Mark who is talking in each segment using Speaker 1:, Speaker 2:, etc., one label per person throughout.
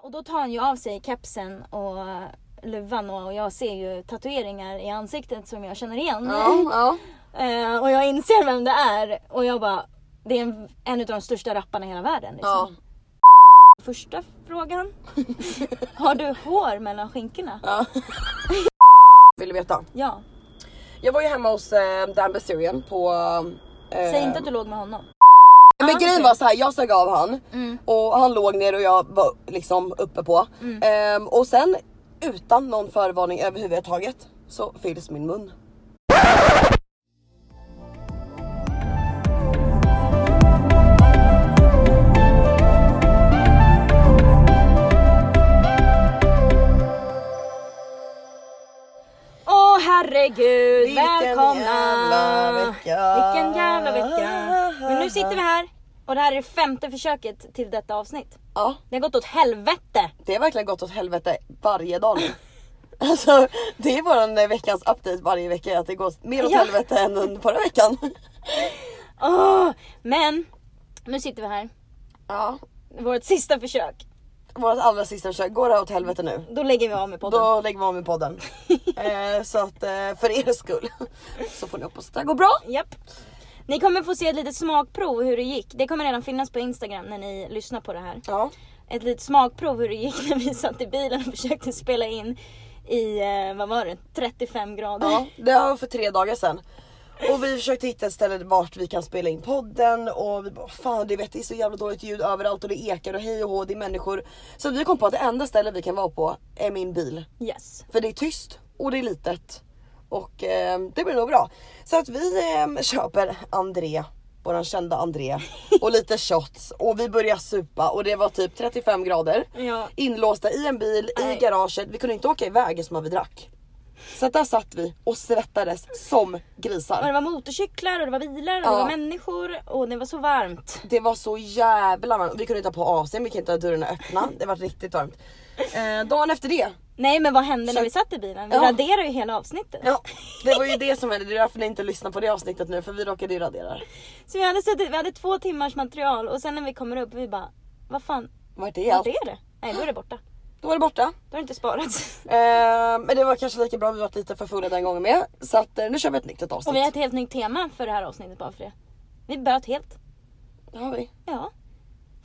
Speaker 1: Och då tar han ju av sig kepsen och eh, luvan och jag ser ju tatueringar i ansiktet som jag känner igen.
Speaker 2: Ja, ja.
Speaker 1: Eh, och jag inser vem det är och jag bara, det är en, en av de största rapparna i hela världen.
Speaker 2: ja.
Speaker 1: Liksom. Första frågan. Har du hår mellan skinkorna?
Speaker 2: ja. Vill du veta?
Speaker 1: Ja.
Speaker 2: Jag var ju hemma hos eh, Dan Bazirian på... eh,
Speaker 1: Säg inte att du låg med honom.
Speaker 2: Men
Speaker 1: Ah,
Speaker 2: grejen
Speaker 1: okej.
Speaker 2: var så här, jag sög av han
Speaker 1: Mm.
Speaker 2: och han låg ner och jag var liksom uppe på. Ehm, och sen utan någon förvarning överhuvudtaget så fylls min mun.
Speaker 1: Åh herregud, välkomna!
Speaker 2: jävla vecka!
Speaker 1: Vilken jävla vecka! Men nu sitter vi här och det här är det femte försöket till detta avsnitt.
Speaker 2: Ja,
Speaker 1: Det har gått åt helvete!
Speaker 2: det har verkligen gått åt helvete varje dag nu. Alltså det är våran eh, veckans update varje vecka att det går mer åt
Speaker 1: Ja.
Speaker 2: helvete än den förra veckan.
Speaker 1: Åh! Men nu sitter vi här,
Speaker 2: Ja,
Speaker 1: vårt sista försök.
Speaker 2: vårt allra sista försök, går det här åt helvete nu?
Speaker 1: Då lägger vi av med podden.
Speaker 2: Då lägger vi av med podden. eh, så att eh, för er skull så får ni hoppas att det här går bra.
Speaker 1: Japp. Ni kommer få se ett litet smakprov hur det gick. Det kommer redan finnas på Instagram när ni lyssnar på det här.
Speaker 2: Ja.
Speaker 1: Ett litet smakprov hur det gick när vi satt i bilen och försökte spela in i, eh, vad var det, 35 grader.
Speaker 2: ja, det var för tre dagar sedan. Och vi försökte hitta ett ställe vart vi kan spela in podden och vi bara fan det, vet, det är så jävla dåligt ljud överallt och det ekar och hej och hå, det är människor. Så vi kom på att det enda stället vi kan vara på är min bil.
Speaker 1: Yes.
Speaker 2: För det är tyst och det är litet. Och eh, det blir nog bra. Så att vi eh, köper André, våran kända André och lite shots och vi börjar supa och det var typ 35 grader.
Speaker 1: Ja.
Speaker 2: Inlåsta i en bil i
Speaker 1: Nej.
Speaker 2: garaget. Vi kunde inte åka iväg som vi drack. Så att där satt vi och svettades som
Speaker 1: Och det
Speaker 2: grisar.
Speaker 1: var motorcyklar och det var bilar och
Speaker 2: Ja.
Speaker 1: det var människor och det var så varmt.
Speaker 2: Det var så jävla varmt. Vi kunde inte ha på AC'n, vi kunde inte ha dörrarna öppna. Det var riktigt varmt. Eh, dagen efter det
Speaker 1: Nej men vad hände när
Speaker 2: Så-
Speaker 1: vi satt i bilen? Vi
Speaker 2: Ja.
Speaker 1: raderade ju hela avsnittet.
Speaker 2: Ja, det var ju det som hände. Det är därför ni inte lyssnar på det avsnittet nu för vi råkade ju radera det.
Speaker 1: Så vi hade, suttit, vi hade två timmars material och sen när vi kommer upp vi bara, vad fan,
Speaker 2: Vart är
Speaker 1: vart
Speaker 2: allt?
Speaker 1: är det? Nej då är det borta.
Speaker 2: Då var det borta.
Speaker 1: Då har det inte sparats.
Speaker 2: Eh, men det var kanske lika bra, vi var lite för fulla den gången med. Så att, eh, nu kör vi ett nytt ett avsnitt.
Speaker 1: Och vi har ett helt nytt tema för det här avsnittet bara för det. Vi böt helt.
Speaker 2: Det har vi.
Speaker 1: Ja.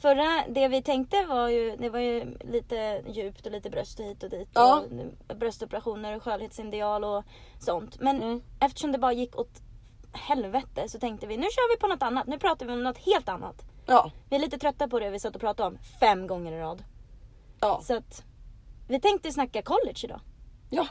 Speaker 1: Förra, det vi tänkte var ju, det var ju lite djupt och lite bröst hit och dit.
Speaker 2: Ja.
Speaker 1: Och bröstoperationer och skönhetsideal och sånt. Men
Speaker 2: Mm.
Speaker 1: eftersom det bara gick åt helvete så tänkte vi nu kör vi på något annat. Nu pratar vi om något helt annat.
Speaker 2: Ja,
Speaker 1: Vi är lite trötta på det vi satt och pratade om fem gånger i rad.
Speaker 2: ja,
Speaker 1: Så att vi tänkte snacka college idag.
Speaker 2: ja,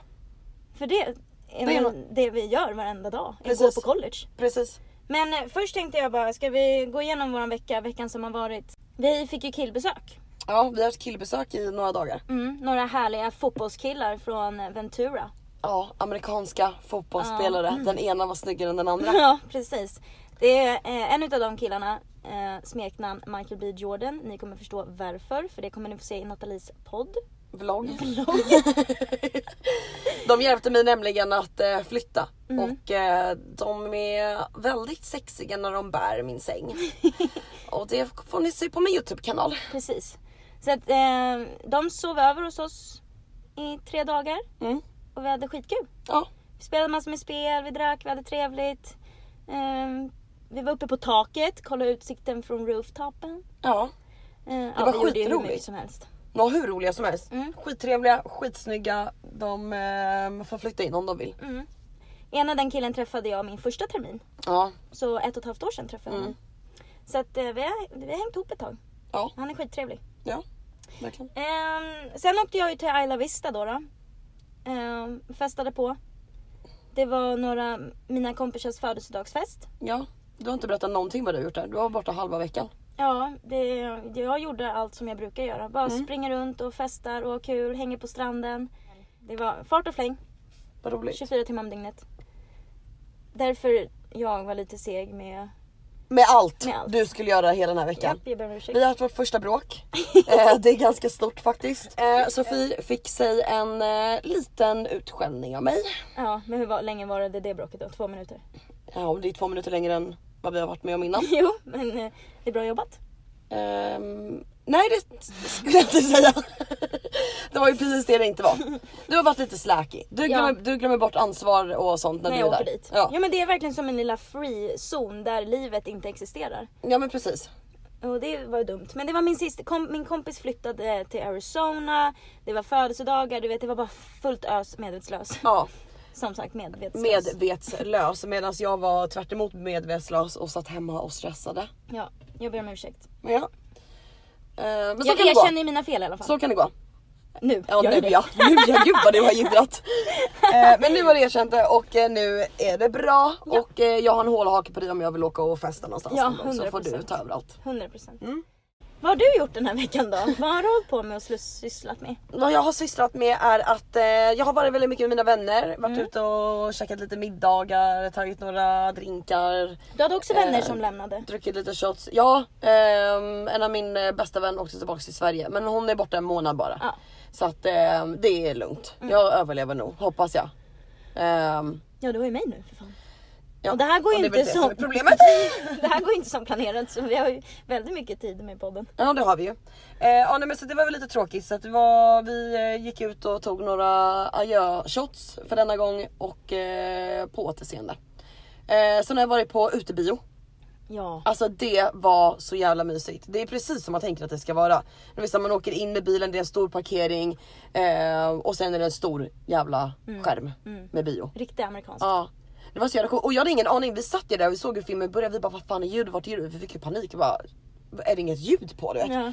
Speaker 1: För det är
Speaker 2: Det är
Speaker 1: väl det vi gör varenda dag. Är att gå
Speaker 2: Precis.
Speaker 1: på college.
Speaker 2: precis.
Speaker 1: Men eh, först tänkte jag bara, ska vi gå igenom våran vecka, veckan som har varit? Vi fick ju killbesök.
Speaker 2: Ja, vi har haft killbesök i några dagar.
Speaker 1: Mm, några härliga fotbollskillar från eh, Ventura.
Speaker 2: Ja, amerikanska
Speaker 1: Ah,
Speaker 2: fotbollsspelare.
Speaker 1: mm.
Speaker 2: Den ena var snyggare än den andra.
Speaker 1: Ja, precis. Det är eh, en utav de killarna, eh, smeknamn Michael B Jordan. Ni kommer förstå varför, för det kommer ni få se i Nathalies podd.
Speaker 2: Vlogg.
Speaker 1: Vlogg.
Speaker 2: De hjälpte mig nämligen att eh, flytta
Speaker 1: Mm.
Speaker 2: och eh, de är väldigt sexiga när de bär min säng. och det får ni se på min Youtube-kanal.
Speaker 1: Precis. Så att eh, de sov över hos oss i tre dagar
Speaker 2: Mm.
Speaker 1: och vi hade skitkul.
Speaker 2: Ja,
Speaker 1: Vi spelade massor med spel, vi drack, vi hade trevligt. Ehm, vi var uppe på taket, kollade utsikten från rooftopen.
Speaker 2: ja.
Speaker 1: Ehm, ja,
Speaker 2: var
Speaker 1: vi gjorde ju hur
Speaker 2: skitroligt.
Speaker 1: mycket som helst.
Speaker 2: De hur roliga som helst.
Speaker 1: Mm.
Speaker 2: Skittrevliga, skitsnygga. De eh, får flytta in om de vill.
Speaker 1: Mm. Ena den killen träffade jag min första termin.
Speaker 2: Ja,
Speaker 1: Så ett och ett halvt år sedan träffade jag
Speaker 2: Mm.
Speaker 1: honom. Så att eh, vi, har, vi har hängt ihop ett tag.
Speaker 2: ja,
Speaker 1: Han är skittrevlig.
Speaker 2: ja. Verkligen.
Speaker 1: Ehm, sen åkte jag ju till Isla Vista då. då. Ehm, festade på. Det var några mina kompisars födelsedagsfest.
Speaker 2: Ja. Du har inte berättat någonting vad du har gjort där. Du var borta halva veckan.
Speaker 1: Ja, det, jag gjorde allt som jag brukar göra. Bara
Speaker 2: Mm.
Speaker 1: springer runt och festar och har kul, hänger på stranden. Det var fart och fläng,
Speaker 2: Vad roligt.
Speaker 1: 24 timmar om dygnet. Därför jag var lite seg med...
Speaker 2: Med allt,
Speaker 1: Med allt.
Speaker 2: du skulle göra hela den här veckan.
Speaker 1: Japp, jag ber om ursäkt.
Speaker 2: Vi har haft vårt första bråk. Eh, det är ganska stort faktiskt. Eh, Sofie fick sig en eh, liten utskällning av mig.
Speaker 1: Ja, men hur var, länge var det det bråket då? Två minuter?
Speaker 2: Ja, det är två minuter längre än vad vi har varit med om innan.
Speaker 1: Jo, men eh, det är bra jobbat.
Speaker 2: Ehm, nej, det skulle jag inte säga. Det var ju precis det det inte var. Du har varit lite släkig. Du,
Speaker 1: Ja.
Speaker 2: glömmer, du glömmer bort ansvar och sånt när,
Speaker 1: när
Speaker 2: du
Speaker 1: jag
Speaker 2: är
Speaker 1: åker
Speaker 2: där.
Speaker 1: dit. Ja.
Speaker 2: Ja.
Speaker 1: men det är verkligen som en lilla free-zon där livet inte existerar.
Speaker 2: ja men precis.
Speaker 1: Och det var ju dumt. Men det var min sista, kom, min kompis flyttade till Arizona, det var födelsedagar, du vet det var bara fullt ös medvetslös.
Speaker 2: Ja.
Speaker 1: Som sagt medvetslös.
Speaker 2: Medvetslös medan jag var tvärt emot medvetslös och satt hemma och stressade.
Speaker 1: Ja, jag ber om ursäkt.
Speaker 2: Men ja. Eh, men så
Speaker 1: Jag
Speaker 2: kan det gå.
Speaker 1: erkänner ju mina fel i alla fall.
Speaker 2: Så kan det gå.
Speaker 1: Nu.
Speaker 2: Ja
Speaker 1: gör
Speaker 2: nu
Speaker 1: jag det.
Speaker 2: ja. Nu ja, gud vad du har jiddrat. eh, men nu har du erkänt det och eh, nu är det bra. Och eh, jag har en hålhake på dig om jag vill åka och festa någonstans
Speaker 1: Ja,
Speaker 2: någon gång, så får du
Speaker 1: 100%.
Speaker 2: ta över allt.
Speaker 1: 100%.
Speaker 2: Mm.
Speaker 1: Vad har du gjort den här veckan då? Vad har du hållit på med och slus- sysslat med?
Speaker 2: Vad jag har sysslat med är att eh, jag har varit väldigt mycket med mina vänner, varit
Speaker 1: Mm.
Speaker 2: ute och käkat lite middagar, tagit några drinkar,
Speaker 1: Du hade också vänner
Speaker 2: Eh,
Speaker 1: som lämnade.
Speaker 2: druckit lite shots. Ja, ehm, en av min eh, bästa vän åkte tillbaka till Sverige men hon är borta en månad bara.
Speaker 1: Ja. Mm.
Speaker 2: Så att ehm, det är lugnt. Jag överlever nog, hoppas jag. Ehm,
Speaker 1: Ja du har ju mig nu för fan.
Speaker 2: ja.
Speaker 1: Och det här går ju
Speaker 2: är väl
Speaker 1: inte
Speaker 2: det som
Speaker 1: som-
Speaker 2: är problemet.
Speaker 1: Det här går ju inte som planerat så vi har ju väldigt mycket tid med podden.
Speaker 2: Ja det har vi ju. Eh, ja, nej, men så det var väl lite tråkigt så att det var, vi eh, gick ut och tog några adjö shots för denna gång och eh, på återseende. Eh, sen har jag varit på utebio.
Speaker 1: Ja.
Speaker 2: Alltså det var så jävla mysigt. Det är precis som man tänker att det ska vara. Det vill säga man åker in i bilen, det är en stor parkering eh, och sen är det en stor jävla skärm med bio.
Speaker 1: Riktigt amerikanskt.
Speaker 2: Ja. Det var så jävla coolt. Och jag hade ingen aning. Vi satt ju där och vi såg hur filmen började. Vi bara vad fan är ljud? Vart är ljud? Vi fick ju panik. Vi bara, är det inget ljud på? Du vet?
Speaker 1: Ja.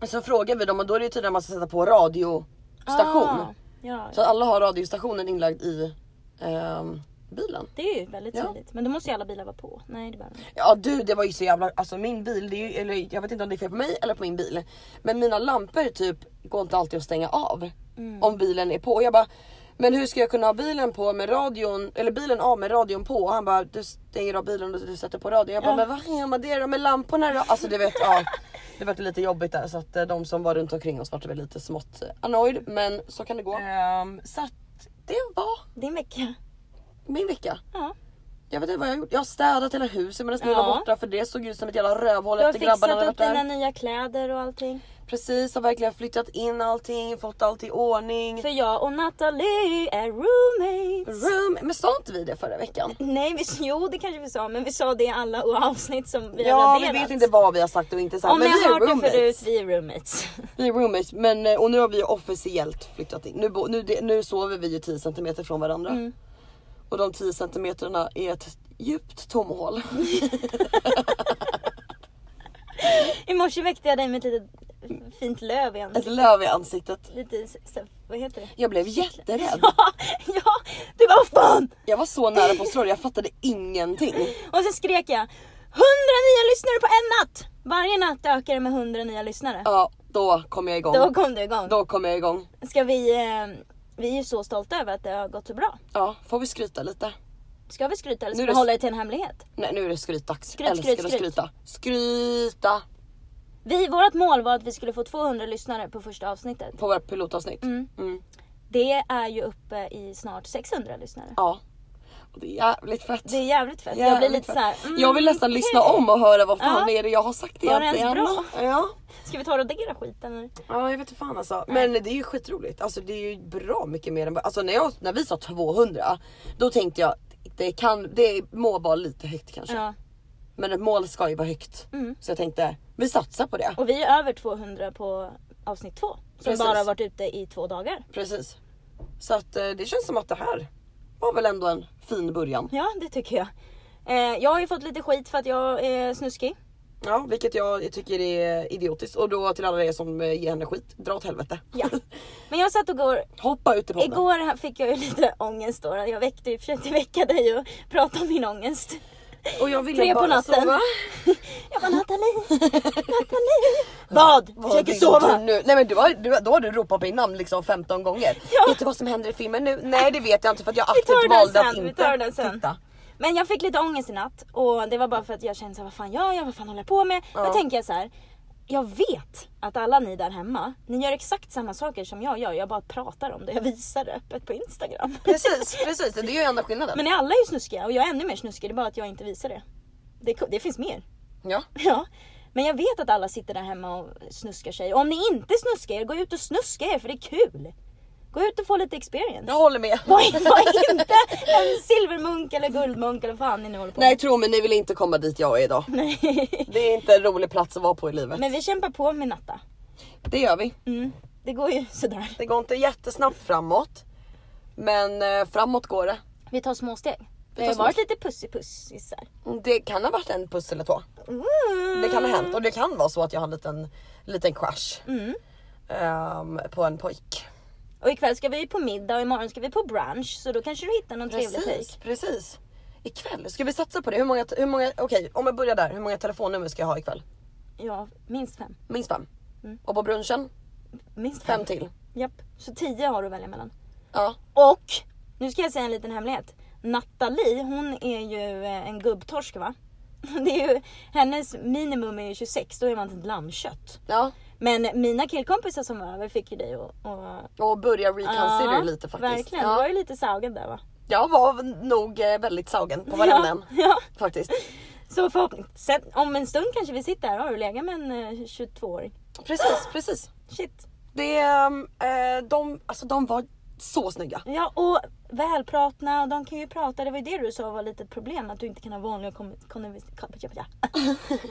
Speaker 2: Och Så frågade vi dem och då är det ju tydligen att man ska sätta på radiostation.
Speaker 1: Ah, ja.
Speaker 2: Så att alla har radiostationen inlagd i ehm, bilen.
Speaker 1: Det är ju väldigt
Speaker 2: Ja.
Speaker 1: tidigt. Men då måste ju alla bilar vara på. Nej det behöver de inte.
Speaker 2: Ja du det var ju så jävla, alltså min bil, det är ju, eller jag vet inte om det är fel på mig eller på min bil. Men mina lampor typ går inte alltid att stänga av. Om bilen är på. Och jag bara, men hur ska jag kunna ha bilen på med radion, eller bilen av med radion på? Och han bara, du stänger av bilen och du sätter på radion. Jag bara,
Speaker 1: Ja.
Speaker 2: men vad gör man det då med lamporna då? Alltså du vet, ja. Det vart lite jobbigt där så att eh, de som var runt omkring oss vart väl lite smått eh, annoyed. Men så kan det gå. Ehm, så att det var
Speaker 1: Din vecka.
Speaker 2: min vecka.
Speaker 1: Ja.
Speaker 2: Jag vet inte vad jag har gjort. Jag har städat hela huset medan ni
Speaker 1: Ja.
Speaker 2: var borta för det såg ut som ett jävla rövhål
Speaker 1: Du har
Speaker 2: efter grabbarna
Speaker 1: fixat
Speaker 2: hade
Speaker 1: upp
Speaker 2: varit där.
Speaker 1: dina nya kläder och allting.
Speaker 2: Precis, har verkligen flyttat in allting, fått allt i ordning.
Speaker 1: För jag och Natalie är roommates.
Speaker 2: Room. Men sa inte vi det förra veckan?
Speaker 1: Nej, vi, jo det kanske vi sa, men vi sa det i alla avsnitt som vi
Speaker 2: Ja,
Speaker 1: har
Speaker 2: vi
Speaker 1: raderat.
Speaker 2: vet inte vad vi har sagt och inte sagt.
Speaker 1: Om ni
Speaker 2: men vi
Speaker 1: har
Speaker 2: är
Speaker 1: hört det
Speaker 2: roommates.
Speaker 1: förut, vi är roommates.
Speaker 2: Vi är roommates men, eh, och nu har vi ju officiellt flyttat in. Nu, bo, nu, det- nu sover vi ju 10 cm från varandra.
Speaker 1: Mm.
Speaker 2: Och de 10 centimeterna är ett djupt tomhål.
Speaker 1: I morse väckte jag dig med ett litet fint löv i
Speaker 2: Ett
Speaker 1: ansiktet.
Speaker 2: löv i ansiktet.
Speaker 1: Lite, så- så- vad heter det?
Speaker 2: Jag blev jätterädd.
Speaker 1: Ja, ja, du bara vad fan!
Speaker 2: Jag var så nära på att slå det, jag fattade ingenting.
Speaker 1: Och sen skrek jag 100 nya lyssnare på en natt! Varje natt ökar det med 100 nya lyssnare.
Speaker 2: Ja, då kom jag igång.
Speaker 1: Då
Speaker 2: Då,
Speaker 1: kom du igång.
Speaker 2: kom jag igång.
Speaker 1: Ska vi, eh, vi är ju så stolta över att det har gått så bra.
Speaker 2: Ja, får vi skryta lite?
Speaker 1: Ska vi skryta eller ska
Speaker 2: Nu är
Speaker 1: vi
Speaker 2: det-
Speaker 1: hålla det till en hemlighet?
Speaker 2: Nej, nu är det skrytdags.
Speaker 1: Skryt,
Speaker 2: Älskar
Speaker 1: skryt,
Speaker 2: att
Speaker 1: skryt.
Speaker 2: skryta. Skryta!
Speaker 1: Vi, vårt mål var att vi skulle få 200 lyssnare på första avsnittet.
Speaker 2: På vårt pilotavsnitt.
Speaker 1: Mm.
Speaker 2: Mm.
Speaker 1: Det är ju uppe i snart 600 lyssnare.
Speaker 2: Ja. Och Det är jävligt fett.
Speaker 1: Det är jävligt fett. jag blir
Speaker 2: Jävligt
Speaker 1: lite
Speaker 2: fett.
Speaker 1: såhär, mm,
Speaker 2: jag vill nästan lyssna om och höra vad fan
Speaker 1: Ja.
Speaker 2: är det jag har sagt
Speaker 1: Var det ens
Speaker 2: egentligen.
Speaker 1: bra?
Speaker 2: Ja.
Speaker 1: ska vi ta och radera skiten eller?
Speaker 2: ja, jag vet inte fan alltså. Men det är ju skitroligt. Alltså det är ju bra mycket mer än bara- Alltså när, jag, när vi sa 200 då tänkte jag det, kan, det må vara lite högt kanske.
Speaker 1: Ja.
Speaker 2: Men ett mål ska ju vara högt.
Speaker 1: Mm.
Speaker 2: Så jag tänkte vi satsar på det.
Speaker 1: Och vi är över 200 på avsnitt två. Som
Speaker 2: Precis.
Speaker 1: bara har varit ute i två dagar.
Speaker 2: Precis. Så att eh, det känns som att det här var väl ändå en fin början.
Speaker 1: Ja, det tycker jag. Eh, jag har ju fått lite skit för att jag är snuskig.
Speaker 2: Ja, vilket jag tycker är idiotiskt. Och då till alla er som eh, ger henne skit, dra åt helvete.
Speaker 1: Ja. Men jag satt och går
Speaker 2: Hoppa ut i podden.
Speaker 1: Igår här fick jag ju lite ångest då. Jag väckte, ju- försökte väcka dig och prata om min ångest.
Speaker 2: och jag ville
Speaker 1: Tre på
Speaker 2: bara
Speaker 1: natten.
Speaker 2: sova.
Speaker 1: Jag bara Nathalie, Nathalie. Vad?
Speaker 2: Vad
Speaker 1: Försöker
Speaker 2: vill
Speaker 1: sova.
Speaker 2: du Nu? Nej men du har, du, då har du ropat min namn liksom 15 gånger.
Speaker 1: Ja.
Speaker 2: Vet du vad som händer i filmen nu? Nej det vet jag inte för att jag
Speaker 1: Vi tar
Speaker 2: aktivt
Speaker 1: den
Speaker 2: valde att
Speaker 1: sen. Vi
Speaker 2: inte
Speaker 1: tar den sen.
Speaker 2: titta.
Speaker 1: Men jag fick lite ångest i natt och det var bara för att jag kände så här, vad fan gör jag? Vad fan håller jag på med?
Speaker 2: Ja.
Speaker 1: Då tänker jag så här. Jag vet att alla ni där hemma, ni gör exakt samma saker som jag gör. Jag bara pratar om det. Jag visar det öppet på Instagram.
Speaker 2: Precis, precis. Det är ju enda skillnaden.
Speaker 1: Men ni alla är ju snuskiga och jag är ännu mer snuskig. Det är bara att jag inte visar det. Det, det finns mer.
Speaker 2: Ja.
Speaker 1: Ja. Men jag vet att alla sitter där hemma och snuskar sig. Och om ni inte snuskar er, gå ut och snuska er för det är kul. Gå ut och få lite experience.
Speaker 2: Jag håller med.
Speaker 1: Var, var inte en silvermunk eller guldmunk eller vad fan ni nu håller på med.
Speaker 2: Nej tro mig, ni vill inte komma dit jag är idag.
Speaker 1: Nej.
Speaker 2: Det är inte en rolig plats att vara på i livet.
Speaker 1: Men vi kämpar på med Natta.
Speaker 2: Det gör vi.
Speaker 1: Mm. Det går ju sådär.
Speaker 2: Det går inte jättesnabbt framåt. Men eh, framåt går det.
Speaker 1: Vi tar små steg. Det
Speaker 2: tar
Speaker 1: har ju
Speaker 2: små
Speaker 1: varit lite pussipussisar.
Speaker 2: Det kan ha varit en puss eller två.
Speaker 1: Mm.
Speaker 2: Det kan ha hänt och det kan vara så att jag har en liten, liten crush
Speaker 1: Mm.
Speaker 2: ehm, på en pojk.
Speaker 1: Och ikväll ska vi på middag och imorgon ska vi på brunch så då kanske du hittar någon trevlig pik.
Speaker 2: Precis, precis. Ikväll, ska vi satsa på det? Hur många, hur många, okej om jag börjar där, hur många telefonnummer ska jag ha ikväll?
Speaker 1: Ja, minst fem.
Speaker 2: Minst fem.
Speaker 1: Mm.
Speaker 2: Och på brunchen,
Speaker 1: Minst fem.
Speaker 2: fem till.
Speaker 1: Japp. Så tio har du att välja mellan.
Speaker 2: Ja.
Speaker 1: Och nu ska jag säga en liten hemlighet. Nathalie, hon är ju eh, en gubbtorsk va? Det är ju, hennes minimum är ju 26, då är man ett lammkött.
Speaker 2: ja.
Speaker 1: Men mina killkompisar som var över fick ju dig och, och
Speaker 2: Och börja reconsider
Speaker 1: Ja,
Speaker 2: lite faktiskt.
Speaker 1: Verkligen, du var
Speaker 2: Ja.
Speaker 1: ju lite saugad där va?
Speaker 2: Jag var nog eh, väldigt saugen på varenda en.
Speaker 1: Ja, ja.
Speaker 2: Faktiskt.
Speaker 1: Så förhoppningsvis, sen- om en stund kanske vi sitter här och har du legat med en eh, 22-åring.
Speaker 2: Precis, precis.
Speaker 1: Shit.
Speaker 2: Det, ehm, eh, de, alltså, de var så snygga.
Speaker 1: Ja och välpratna och de kan ju prata. Det var ju det du sa var lite ett problem att du inte kan ha vanliga kom- konver-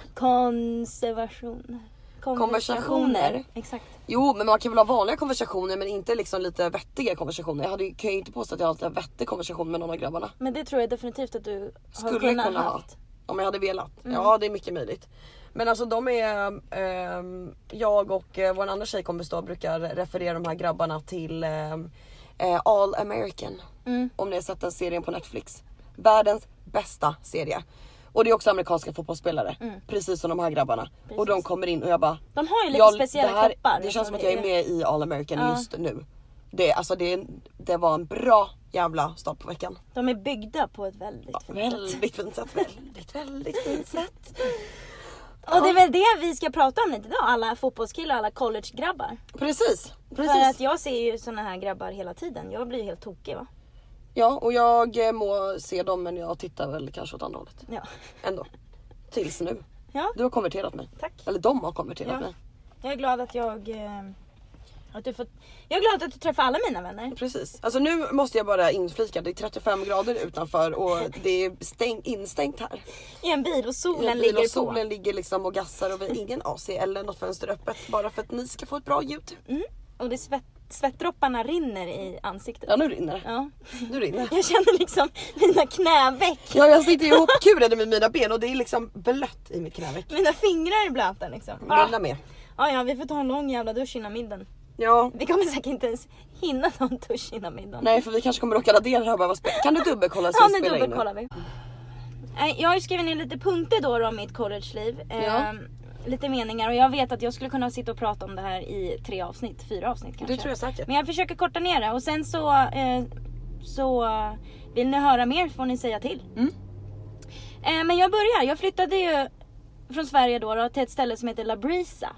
Speaker 1: kon- konservation-
Speaker 2: Konversationer.
Speaker 1: Exakt.
Speaker 2: Jo men man kan väl ha vanliga konversationer men inte liksom lite vettiga konversationer. Jag hade, ju- kan ju inte påstå att jag alltid har vettig konversation med någon av grabbarna.
Speaker 1: Men det tror jag definitivt att du har
Speaker 2: Skulle
Speaker 1: kunnat Mm.
Speaker 2: kunna ha.
Speaker 1: haft.
Speaker 2: Om jag hade velat. Ja det är mycket möjligt. Men alltså de är, ehm, jag och eh, vår andra tjejkompis då brukar referera de här grabbarna till ehm, eh, All American.
Speaker 1: Mm.
Speaker 2: Om ni har sett den serien på Netflix. Världens bästa serie. Och det är också amerikanska fotbollsspelare. Precis som de här grabbarna. Och de kommer in och jag bara.
Speaker 1: Mm. De har ju lite
Speaker 2: jag-
Speaker 1: speciella
Speaker 2: det här,
Speaker 1: kroppar. Alltså,
Speaker 2: Det känns som att jag är
Speaker 1: Det
Speaker 2: med i All American
Speaker 1: Ja.
Speaker 2: just nu. Det, alltså det, det var en bra jävla start på veckan.
Speaker 1: De är byggda på ett väldigt fint sätt.
Speaker 2: Väldigt fint sätt. Väldigt, väldigt fint sätt.
Speaker 1: Och det är väl det vi ska prata om lite idag. Alla fotbollskillar och alla collegegrabbar.
Speaker 2: Precis, precis.
Speaker 1: För att jag ser ju såna här grabbar hela tiden. Jag blir ju helt tokig va?
Speaker 2: Ja och jag eh, må se dem men jag tittar väl kanske åt andra hållet.
Speaker 1: Ja.
Speaker 2: Ändå. Tills nu.
Speaker 1: ja.
Speaker 2: Du har konverterat mig.
Speaker 1: Tack.
Speaker 2: Eller de har konverterat
Speaker 1: Ja.
Speaker 2: mig.
Speaker 1: Jag är glad att jag... eh, Att du får... Jag är glad att du träffar alla mina vänner.
Speaker 2: Precis. Alltså nu måste jag bara inflika, det är 35 grader utanför och det är stäng, instängt här.
Speaker 1: I en bil och solen
Speaker 2: Jag
Speaker 1: ligger
Speaker 2: och
Speaker 1: på.
Speaker 2: solen ligger liksom och gassar och vi har ingen AC eller något fönster öppet bara för att ni ska få ett bra ljud.
Speaker 1: Mm. Och det svett... svettdropparna rinner i ansiktet.
Speaker 2: Ja nu rinner det.
Speaker 1: Ja.
Speaker 2: Nu rinner det.
Speaker 1: Jag känner liksom mina knäveck.
Speaker 2: Ja jag sitter ju ihopkurad med mina ben och det är liksom blött i mitt knäveck.
Speaker 1: Mina fingrar är blöta liksom.
Speaker 2: Mina
Speaker 1: Ah.
Speaker 2: med.
Speaker 1: Ja, ja, vi får ta en lång jävla dusch innan middagen.
Speaker 2: Ja.
Speaker 1: Vi kommer säkert inte ens hinna ta en dusch innan middagen.
Speaker 2: Nej för vi kanske kommer råka radera det här och behöva spela. Kan du dubbelkolla så
Speaker 1: Ja
Speaker 2: vi
Speaker 1: nu
Speaker 2: spelar in nu?
Speaker 1: dubbelkollar vi. Nej, Jag har ju skrivit ner lite punkter då, då om mitt collegeliv. Eh,
Speaker 2: Ja.
Speaker 1: Lite meningar och jag vet att jag skulle kunna sitta och prata om det här i tre avsnitt, fyra avsnitt kanske.
Speaker 2: Det tror jag säkert.
Speaker 1: Men jag försöker korta ner det och sen så, eh, så eh, vill ni höra mer får ni säga till.
Speaker 2: Mm.
Speaker 1: Eh, men jag börjar, jag flyttade ju från Sverige då, då till ett ställe som heter La Brisa.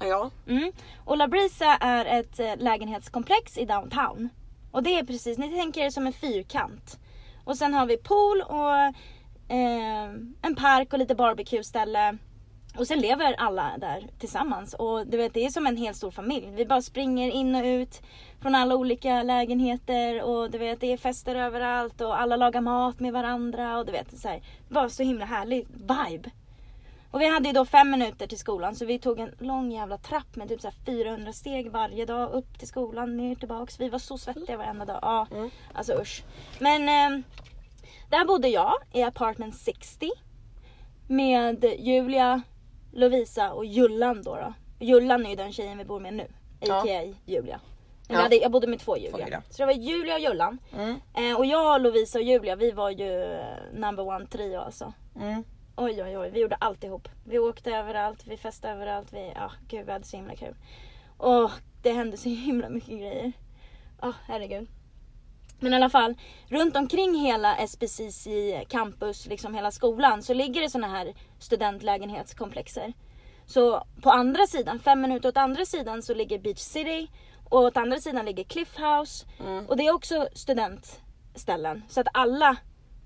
Speaker 2: Ja.
Speaker 1: Mm. Och La Brisa är ett eh, lägenhetskomplex i downtown. Och det är precis, ni tänker er som en fyrkant. Och sen har vi pool och eh, en park och lite barbecue-ställe. Och sen lever alla där tillsammans. Och du vet, det är som en helt stor familj. Vi bara springer in och ut från alla olika lägenheter. Och du vet, det är fester överallt och alla lagar mat med varandra. Och du vet, så här, bara så himla härlig vibe. Och vi hade ju då fem minuter till skolan så vi tog en lång jävla trapp med typ så här 400 steg varje dag upp till skolan, ner tillbaks. Vi var så svettiga varenda dag. Ja,
Speaker 2: Mm.
Speaker 1: alltså usch. Men ehm, där bodde jag i apartment 60 med Julia, Lovisa och Jullan då. då. Jullan är ju den tjejen vi bor med nu,
Speaker 2: Ja.
Speaker 1: a.k.a. Julia. Men
Speaker 2: Ja.
Speaker 1: Jag, hade, jag bodde med två Julia.
Speaker 2: Julia.
Speaker 1: Så det var Julia och Jullan. Eh, och jag, Lovisa och Julia vi var ju eh, number one trio alltså. Oj oj oj, vi gjorde allt ihop. Vi åkte överallt, vi festade överallt, vi, ja gud vi hade så himla kul. Och det hände så himla mycket grejer. Ja herregud. Men i alla fall, runt omkring hela SPCC campus, liksom hela skolan, så ligger det såna här studentlägenhetskomplexer. Så på andra sidan, fem minuter åt andra sidan så ligger Beach City och åt andra sidan ligger Cliff House. Och det är också studentställen. Så att alla,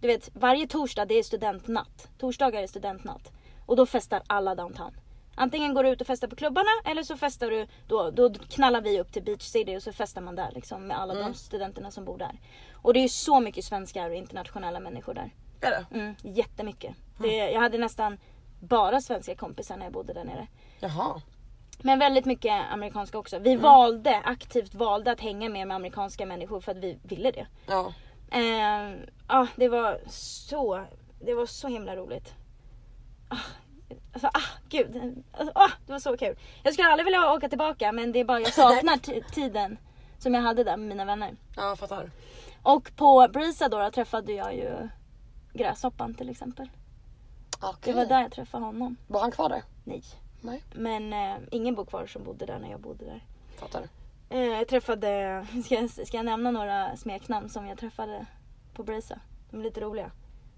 Speaker 1: du vet varje torsdag det är studentnatt. Torsdagar är studentnatt. Och då festar alla downtown. Antingen går du ut och festar på klubbarna eller så festar du, då, då knallar vi upp till Beach City och så festar man där liksom med alla de studenterna som bor där. Och det är ju så mycket svenskar och internationella människor där.
Speaker 2: Är det?
Speaker 1: Mm, jättemycket. Det, jag hade nästan bara svenska kompisar när jag bodde där nere.
Speaker 2: Jaha.
Speaker 1: Men väldigt mycket amerikanska också. Vi
Speaker 2: Mm.
Speaker 1: valde, aktivt valde att hänga mer med amerikanska människor för att vi ville det.
Speaker 2: Ja.
Speaker 1: Eh, ja, det var så, det var så himla roligt. Ah, alltså, ah, gud. Alltså, ah, det var så kul. Jag skulle aldrig vilja åka tillbaka men det är bara jag saknar t- tiden som jag hade där med mina vänner.
Speaker 2: Ja, jag fattar.
Speaker 1: Och på Brisa då, då träffade jag ju Gräshoppan till exempel. Det
Speaker 2: Okej.
Speaker 1: var där jag träffade honom.
Speaker 2: Var han kvar där?
Speaker 1: Nej.
Speaker 2: Nej.
Speaker 1: Men eh, ingen bor kvar som bodde där när jag bodde där.
Speaker 2: Fattar.
Speaker 1: Eh, jag träffade, ska jag, ska jag nämna några smeknamn som jag träffade på Brisa? De är lite roliga.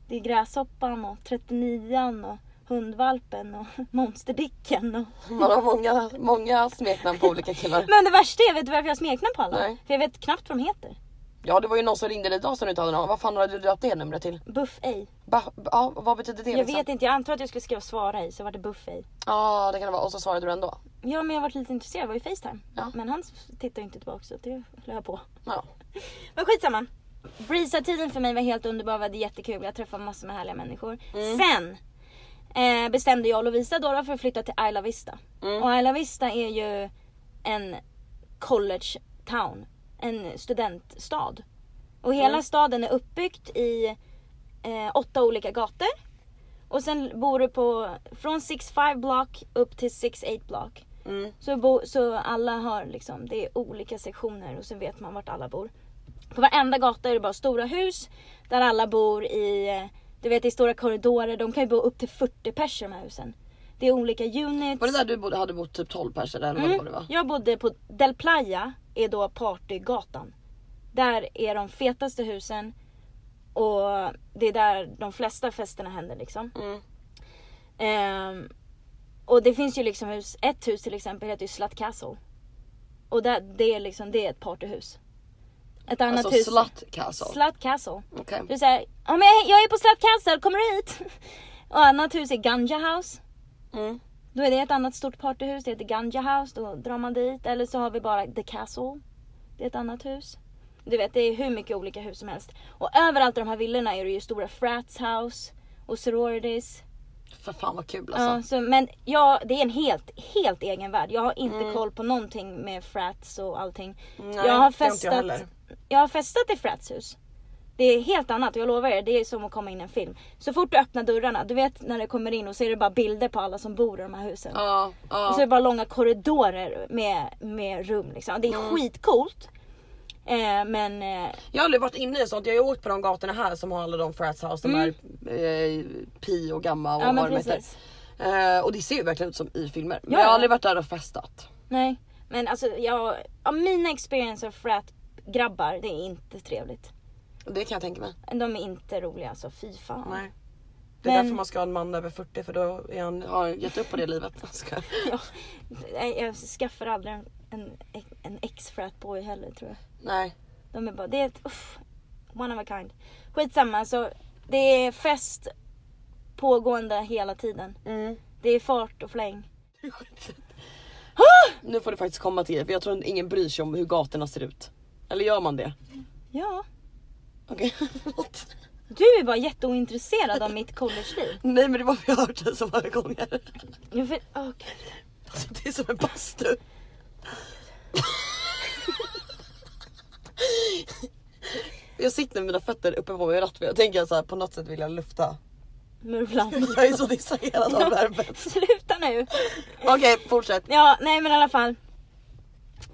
Speaker 1: Det är Gräshoppan och 39an och Hundvalpen och Monsterdicken och...
Speaker 2: Man har många, många smeknamn på olika killar.
Speaker 1: Men det värsta är, vet du varför jag har smeknamn på alla?
Speaker 2: Nej.
Speaker 1: För jag vet knappt vad de heter.
Speaker 2: Ja, det var ju någon som ringde dig idag som du inte hade någon Vad fan har du döpt det numret till?
Speaker 1: Buff ej.
Speaker 2: Ba, ba, ja, vad betyder det? liksom?
Speaker 1: Jag vet inte, jag antar att jag skulle skriva svara ej så var det Buff ej.
Speaker 2: Ja, det kan det vara. Och så svarade du ändå.
Speaker 1: Ja men jag har varit lite intresserad, det var ju Facetime.
Speaker 2: Ja.
Speaker 1: Men han tittar ju inte tillbaka så det höll jag på.
Speaker 2: Ja.
Speaker 1: Men skitsamma. Brisa-tiden för mig var helt underbar, vi hade jättekul, jag träffade massor med härliga människor. Sen eh, bestämde jag och Lovisa då, då för att flytta till Isla Vista.
Speaker 2: Mm.
Speaker 1: Och Isla Vista är ju en college town, en studentstad. Och hela staden är uppbyggt i eh, åtta olika gator. Och sen bor du på, från 6-5 block upp till 6-8 block.
Speaker 2: Mm.
Speaker 1: Så, bo, så alla har liksom, det är olika sektioner och så vet man vart alla bor. På varenda gata är det bara stora hus där alla bor i, eh, du vet i stora korridorer. De kan ju bo upp till 40 pers i de här husen. Det är olika units.
Speaker 2: Var det där du bodde, hade bott typ 12 pers eller mm. vad det var?
Speaker 1: Jag bodde på Del Playa, är då partygatan. Där är de fetaste husen och det är där de flesta festerna händer liksom.
Speaker 2: Mm.
Speaker 1: Ehm, och det finns ju liksom hus, ett hus till exempel heter ju Slut Castle. Och det, det är liksom, det är ett partyhus. Ett annat
Speaker 2: Alltså
Speaker 1: hus.
Speaker 2: slut castle.
Speaker 1: Slut Castle.
Speaker 2: Okej.
Speaker 1: Du säger, ja men jag, jag är på Slut Castle, kommer du hit? Och annat hus är Ganja House.
Speaker 2: Mm.
Speaker 1: Då är det ett annat stort partyhus, det heter Ganja House, då drar man dit. Eller så har vi bara The Castle. Det är ett annat hus. Du vet, det är hur mycket olika hus som helst. Och överallt i de här villorna är det ju stora frats house och sororities.
Speaker 2: För fan vad kul alltså.
Speaker 1: Ja, så, men ja, det är en helt, helt egen värld. Jag har inte koll på någonting med frats och allting.
Speaker 2: Mm. Nej,
Speaker 1: jag, har
Speaker 2: det har inte jag
Speaker 1: festat,
Speaker 2: heller.
Speaker 1: jag har festat i frats hus. Det är helt annat, jag lovar er. Det är som att komma in i en film. Så fort du öppnar dörrarna, du vet när du kommer in och så är det bara bilder på alla som bor i de här husen.
Speaker 2: Ja, ja.
Speaker 1: Och så är det bara långa korridorer med, med rum liksom. Det är
Speaker 2: Mm.
Speaker 1: skitcoolt. Eh, men eh,
Speaker 2: Jag har aldrig varit inne i sånt. Jag har ju åkt på de gatorna här som har alla de frats house, de här eh, Pi och Gamma och
Speaker 1: Mm. Ja, men
Speaker 2: vad de heter.
Speaker 1: precis.
Speaker 2: Eh, och det ser ju verkligen ut som i filmer. Men
Speaker 1: Ja,
Speaker 2: jag
Speaker 1: ja.
Speaker 2: har aldrig varit där och festat.
Speaker 1: nej. Men alltså jag, av mina experiences av frat grabbar, det är inte trevligt.
Speaker 2: Det kan jag tänka mig.
Speaker 1: De är inte roliga alltså, fy fan.
Speaker 2: Nej. Det är
Speaker 1: Men-
Speaker 2: därför man ska ha en man över 40 för då är han, har han gett upp på det livet. Jag skojar.
Speaker 1: Ja, nej, jag skaffar aldrig en, en, en ex-frat boy heller tror jag.
Speaker 2: Nej.
Speaker 1: De är bara, det är ett, uff, one of a kind. Skitsamma, så det är fest pågående hela tiden.
Speaker 2: Mm.
Speaker 1: Det är fart och fläng.
Speaker 2: Nu får du faktiskt komma till er för jag tror ingen bryr sig om hur gatorna ser ut. Eller gör man det?
Speaker 1: Ja.
Speaker 2: Okej, förlåt.
Speaker 1: Du är bara jätteointresserad av mitt collegeliv.
Speaker 2: Nej men det var för jag har hört det så många gånger.
Speaker 1: Jag vet- åh, gud.
Speaker 2: Alltså, det är som en bastu. Jag sitter med mina fötter uppe på min ratt för jag tänker så här, på något sätt vill jag lufta.
Speaker 1: Murvlan.
Speaker 2: Jag är så distraherad av värmen.
Speaker 1: Sluta nu.
Speaker 2: Okej fortsätt.
Speaker 1: Ja, nej men i alla fall.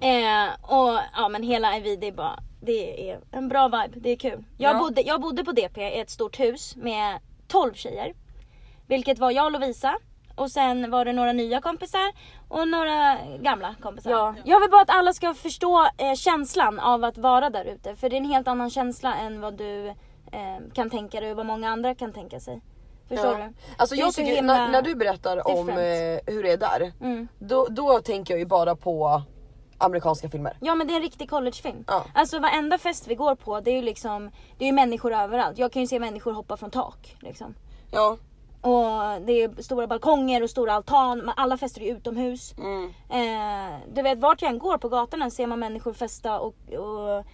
Speaker 1: Eh, och ja men hela Ivy det är bara, det är en bra vibe, det är kul. Jag,
Speaker 2: Ja.
Speaker 1: bodde, jag bodde på DP i ett stort hus med 12 tjejer. Vilket var jag och Lovisa. Och sen var det några nya kompisar och några gamla kompisar. Ja. Jag vill bara att alla ska förstå eh, känslan av att vara där ute. För det är en helt annan känsla än vad du eh, kan tänka dig och vad många andra kan tänka sig. Förstår
Speaker 2: Ja.
Speaker 1: du?
Speaker 2: Alltså
Speaker 1: Det är
Speaker 2: jag
Speaker 1: så
Speaker 2: tycker,
Speaker 1: himla
Speaker 2: när, när du berättar om eh,
Speaker 1: different.
Speaker 2: hur det är där,
Speaker 1: Mm.
Speaker 2: då, då tänker jag ju bara på amerikanska filmer.
Speaker 1: Ja men det är en riktig collegefilm.
Speaker 2: Ja.
Speaker 1: Alltså varenda fest vi går på det är ju liksom, det är ju människor överallt. Jag kan ju se människor hoppa från tak liksom.
Speaker 2: Ja.
Speaker 1: Och det är stora balkonger och stora altan. Men Alla fester är ju utomhus.
Speaker 2: Mm.
Speaker 1: Eh, du vet vart jag än går på gatorna ser man människor festa och, och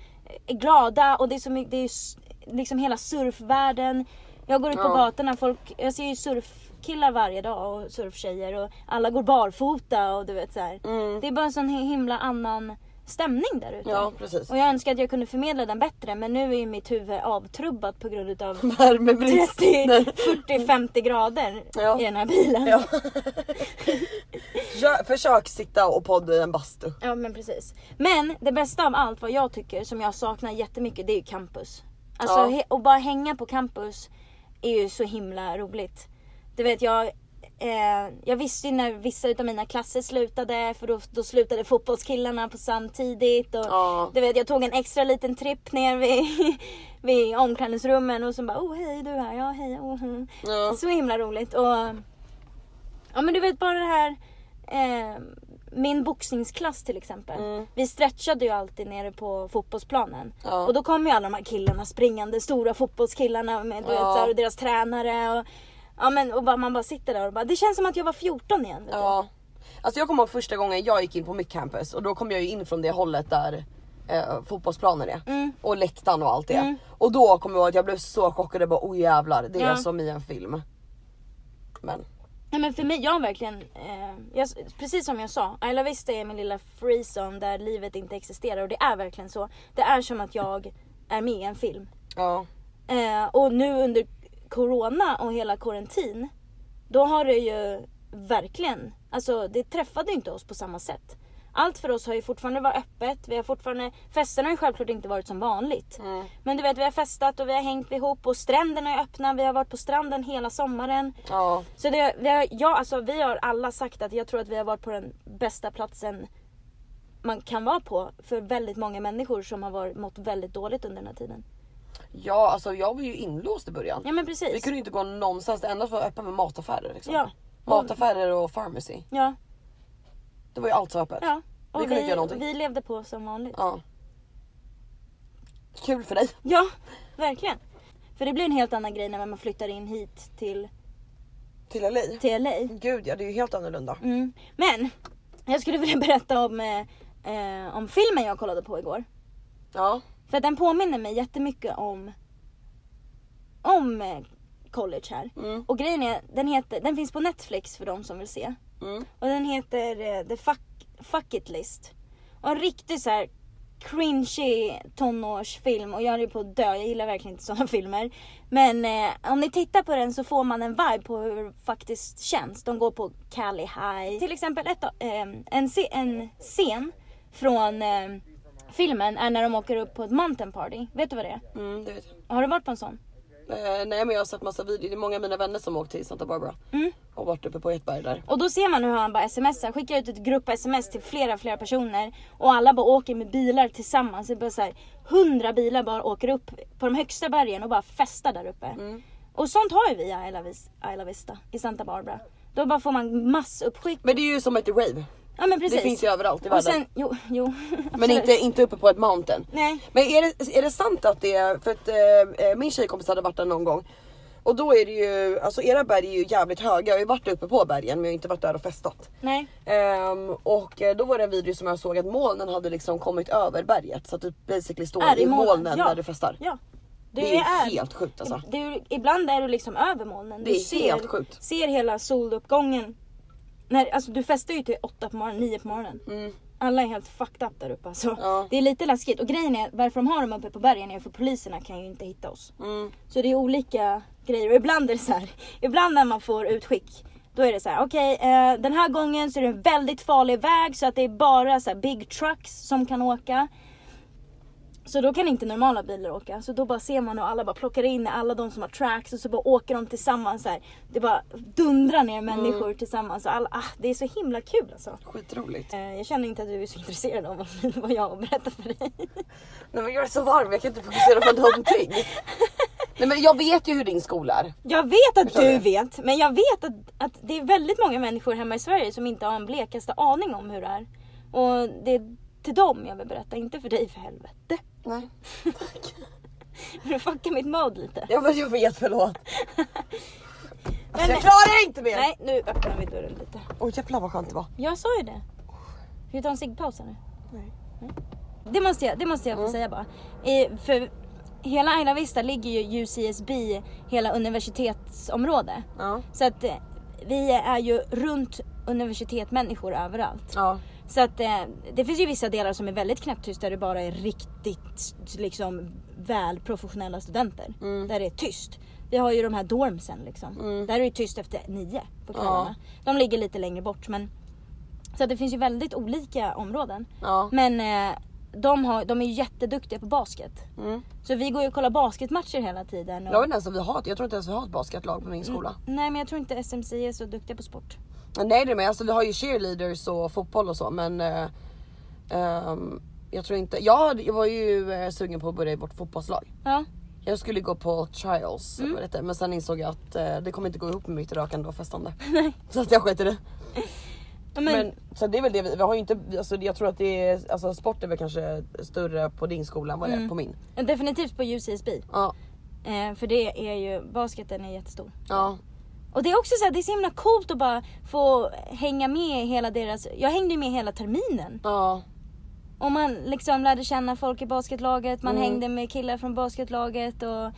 Speaker 1: är glada och det är, så mycket, det är s- liksom hela surfvärlden. Jag går ut på
Speaker 2: Ja.
Speaker 1: gatorna, folk, jag ser ju surfkillar varje dag och surftjejer och alla går barfota och du vet så här.
Speaker 2: Mm.
Speaker 1: Det är bara en sån hi- himla annan stämning där ute.
Speaker 2: Ja precis.
Speaker 1: Och jag önskar att jag kunde förmedla den bättre men nu är ju mitt huvud avtrubbat på grund av 30,
Speaker 2: Värmebrist. Nej.
Speaker 1: 40, 50 grader
Speaker 2: Ja.
Speaker 1: i den här bilen.
Speaker 2: Ja. Kö- Försök sitta och podda i en bastu.
Speaker 1: Ja men precis. Men det bästa av allt vad jag tycker som jag saknar jättemycket det är ju campus. Alltså
Speaker 2: Ja.
Speaker 1: he- och bara hänga på campus är ju så himla roligt. Du vet jag, eh, jag visste ju när vissa utav mina klasser slutade för då, då slutade fotbollskillarna på samtidigt. Och,
Speaker 2: Ja.
Speaker 1: Du vet jag tog en extra liten tripp ner vid, vid omklädningsrummen och så bara oh hej du här, ja hej, oh, hm.
Speaker 2: Ja.
Speaker 1: Så himla roligt och ja men du vet bara det här eh, min boxningsklass till exempel.
Speaker 2: Mm.
Speaker 1: Vi stretchade ju alltid nere på fotbollsplanen
Speaker 2: Ja.
Speaker 1: och då kom ju alla de här killarna springande, stora fotbollskillarna med du vet,
Speaker 2: Ja.
Speaker 1: så här, och deras tränare och ja men och bara, man bara sitter där och bara det känns som att jag var 14 igen. Vet
Speaker 2: Ja. Alltså jag kommer ihåg första gången jag gick in på mitt campus och då kom jag ju in från det hållet där eh, fotbollsplanen är.
Speaker 1: Mm.
Speaker 2: Och läktaren och allt det.
Speaker 1: Mm.
Speaker 2: Och då kommer jag ihåg att jag blev så chockad och bara oh jävlar det är
Speaker 1: Ja.
Speaker 2: som i en film. Men
Speaker 1: Nej men för mig, jag har verkligen, eh, jag, precis som jag sa, Isla Vista är min lilla free zone där livet inte existerar och det är verkligen så. Det är som att jag är med i en film.
Speaker 2: ja.
Speaker 1: Eh, och nu under corona och hela karantin, då har det ju verkligen, alltså det träffade ju inte oss på samma sätt. Allt för oss har ju fortfarande varit öppet, vi har fortfarande, festerna har ju självklart inte varit som vanligt.
Speaker 2: Mm.
Speaker 1: Men du vet, vi har festat och vi har hängt ihop och stränderna är öppna, vi har varit på stranden hela sommaren.
Speaker 2: Ja.
Speaker 1: Så det, vi, har, ja, alltså, vi har alla sagt att jag tror att vi har varit på den bästa platsen man kan vara på för väldigt många människor som har varit, mått väldigt dåligt under den här tiden.
Speaker 2: Ja alltså jag var ju inlåst i början.
Speaker 1: Ja men precis.
Speaker 2: Vi kunde ju inte gå någonstans, det enda som var öppet var mataffärer. Liksom.
Speaker 1: Ja.
Speaker 2: Mataffärer och pharmacy.
Speaker 1: Ja,
Speaker 2: Det var ju allt som var öppet.
Speaker 1: ja. Och vi,
Speaker 2: Vi kunde inte göra någonting.
Speaker 1: vi levde på som vanligt. Ja.
Speaker 2: Ja. Kul för dig.
Speaker 1: verkligen. För det blir en helt annan grej när man flyttar in hit till,
Speaker 2: Till LA.
Speaker 1: till LA.
Speaker 2: Gud ja det är ju helt annorlunda.
Speaker 1: Mm. Men jag skulle vilja berätta om, eh, eh, om filmen jag kollade på igår.
Speaker 2: Ja.
Speaker 1: För att den påminner mig jättemycket om, om eh, college här.
Speaker 2: Mm.
Speaker 1: Och grejen är, den, heter, den finns på Netflix för de som vill se.
Speaker 2: Mm.
Speaker 1: Och den heter eh, The Fuck, Fuck It List. Och en riktig så här cringy tonårsfilm och jag är ju på att dö, jag gillar verkligen inte sådana filmer. Men eh, om ni tittar på den så får man en vibe på hur det faktiskt känns. De går på Cali High. Till exempel ett, av- ehm, en, se- en scen från ehm, filmen är när de åker upp på ett mountain party. Vet du vad det är?
Speaker 2: Mm, det vet jag.
Speaker 1: Har du varit på en sån?
Speaker 2: Eh, nej men jag har sett massa videor, det är många av mina vänner som har åkt till Santa Barbara.
Speaker 1: Mm.
Speaker 2: Och varit uppe på ett berg där.
Speaker 1: Och då ser man hur han bara smsar, skickar ut ett grupp-sms till flera, flera personer. Och alla bara åker med bilar tillsammans. Det är bara så här, hundra bilar bara åker upp på de högsta bergen och bara festar där uppe.
Speaker 2: Mm.
Speaker 1: Och sånt har ju vi i Isla Vis- Isla Vista, i Santa Barbara. Då bara får man massuppskick.
Speaker 2: Men det är ju som ett rave.
Speaker 1: Ja men precis.
Speaker 2: Det finns ju överallt i
Speaker 1: Och
Speaker 2: världen.
Speaker 1: sen, jo, jo.
Speaker 2: men
Speaker 1: absolut.
Speaker 2: inte, inte uppe på ett mountain.
Speaker 1: Nej.
Speaker 2: Men är det, är det sant att det är, för att eh, eh, min tjejkompis hade varit där någon gång. Och då är det ju, alltså era berg är ju jävligt höga. Jag har ju varit uppe på bergen men jag har inte varit där och festat.
Speaker 1: Nej.
Speaker 2: Ehm, och eh, då var det en video som jag såg att molnen hade liksom kommit över berget. Så att du basically står
Speaker 1: Är
Speaker 2: i
Speaker 1: i molnen,
Speaker 2: molnen
Speaker 1: ja.
Speaker 2: där du festar.
Speaker 1: Ja. Du
Speaker 2: Det är helt sjukt alltså.
Speaker 1: Det är, ju- ibland är du liksom över molnen.
Speaker 2: Det
Speaker 1: du
Speaker 2: är helt sjukt.
Speaker 1: ser hela soluppgången. När, alltså, du festar ju till åtta på morgonen, nio på morgonen.
Speaker 2: Mm.
Speaker 1: Alla är helt fucked up där uppe alltså.
Speaker 2: Ja.
Speaker 1: Det är lite läskigt. Och grejen är varför de har dem uppe på bergen är för poliserna kan ju inte hitta oss.
Speaker 2: Mm.
Speaker 1: Så det är olika grejer. Och ibland är det så här, ibland när man får utskick då är det så här, okej eh, den här gången så är det en väldigt farlig väg så att det är bara så här, big trucks som kan åka. Så då kan inte normala bilar åka. Så då bara ser man hur alla bara plockar in alla de som har tracks och så bara åker de tillsammans så här. Det bara dundrar ner människor tillsammans. Och alla, ah, det är så himla kul alltså.
Speaker 2: Skitroligt.
Speaker 1: Eh, Jag känner inte att du är så intresserad av vad- vad jag berättar för dig.
Speaker 2: Nej men jag är så varm, jag kan inte fokusera på någonting. Nej men jag vet ju hur din skola är.
Speaker 1: Jag vet att
Speaker 2: Förstår
Speaker 1: du
Speaker 2: du?
Speaker 1: vet, men jag vet att, att det är väldigt många människor hemma i Sverige som inte har en blekaste aning om hur det är. Och det är till dem jag vill berätta, inte för dig för helvete.
Speaker 2: Nej.
Speaker 1: Du fuckar mitt mod lite.
Speaker 2: Ja men jag vet, förlåt. Alltså, jag klarar inte mer!
Speaker 1: Nej, nu öppnar vi dörren lite.
Speaker 2: Oj jävlar vad skönt det var.
Speaker 1: Jag sa ju det. Ska vi ta en ciggpaus här nu?
Speaker 2: Nej.
Speaker 1: Det måste jag, det måste jag
Speaker 2: Mm.
Speaker 1: få säga bara. Eh, för hela Isla Vista ligger ju UCSB, hela universitetsområde.
Speaker 2: Ja.
Speaker 1: Så att eh, vi är ju runt universitet människor överallt.
Speaker 2: Ja.
Speaker 1: Så att eh, det finns ju vissa delar som är väldigt knäpptyst där det bara är riktigt liksom väl professionella studenter. Där det är tyst. Vi har ju de här dormsen liksom. Där är det ju tyst efter nio på kvällarna. De ligger lite längre bort men så att det finns ju väldigt olika områden.
Speaker 2: Ja.
Speaker 1: Men eh, de, har, de är ju jätteduktiga på basket.
Speaker 2: Mm.
Speaker 1: Så vi går ju och kollar basketmatcher hela tiden.
Speaker 2: Jag vet
Speaker 1: Och...
Speaker 2: inte ens om vi har ett, jag tror inte ens vi har ett basketlag på min skola.
Speaker 1: Nej men jag tror inte SMC är så duktiga på sport.
Speaker 2: Nej det är med, alltså vi har ju cheerleaders och fotboll och så men eh, ehm, jag tror inte, jag, hade- jag var ju eh, sugen på att börja i vårt fotbollslag.
Speaker 1: Ja.
Speaker 2: Jag skulle gå på trials
Speaker 1: Mm.
Speaker 2: eller vad det heter, men sen insåg jag att eh, det kommer inte gå ihop med mitt rökande och festande. Så att jag sket i det.
Speaker 1: Men,
Speaker 2: Men, så det är väl det vi, vi har ju inte, alltså, jag tror att det är, alltså sport är väl kanske större på din skola än vad
Speaker 1: Mm.
Speaker 2: det är på min.
Speaker 1: definitivt på UCSB.
Speaker 2: Ja,
Speaker 1: Eh, för det är ju, basketen är jättestor.
Speaker 2: ja,
Speaker 1: Och det är också så här, det är så himla coolt att bara få hänga med i hela deras, jag hängde ju med hela terminen.
Speaker 2: ja.
Speaker 1: Och man liksom lärde känna folk i basketlaget,
Speaker 2: Mm.
Speaker 1: man hängde med killar från basketlaget och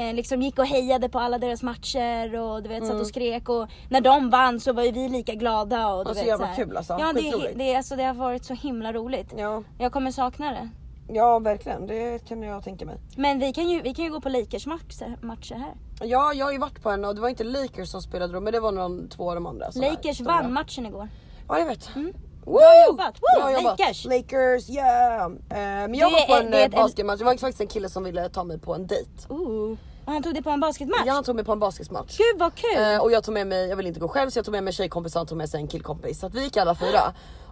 Speaker 1: eh, liksom gick och hejade på alla deras matcher och du vet
Speaker 2: Mm.
Speaker 1: satt och skrek och när de vann så var ju vi lika glada och du
Speaker 2: Ja, så
Speaker 1: vet
Speaker 2: jävla
Speaker 1: här.
Speaker 2: kul, alltså.
Speaker 1: Ja det, är-
Speaker 2: Skitroligt.
Speaker 1: det, är- alltså, det har varit så himla roligt.
Speaker 2: Ja,
Speaker 1: Jag kommer sakna det.
Speaker 2: ja verkligen det kan jag tänka mig.
Speaker 1: Men vi kan ju, vi kan ju gå på Lakers matcher, matcher här.
Speaker 2: Ja, jag har ju varit på en och det var inte Lakers som spelade då men det var någon två av de andra. sådana här
Speaker 1: Lakers
Speaker 2: stora.
Speaker 1: vann matchen igår.
Speaker 2: Ja jag vet. Woo!
Speaker 1: Bra jobbat! Woo!
Speaker 2: Bra jobbat!
Speaker 1: Lakers!
Speaker 2: Lakers yeah! Eh, men
Speaker 1: Det
Speaker 2: jag var på
Speaker 1: är-
Speaker 2: en
Speaker 1: det är
Speaker 2: eh,
Speaker 1: ett-
Speaker 2: basketmatch, det var faktiskt en kille som ville ta mig på en dejt.
Speaker 1: Ooh. Och han tog det på en basketmatch?
Speaker 2: Ja, han tog mig på en basketmatch.
Speaker 1: Gud vad kul!
Speaker 2: Eh, och jag tog med mig, jag vill inte gå själv så jag tog med mig tjejkompisar och tog med sig en killkompis. Så att vi gick alla fyra.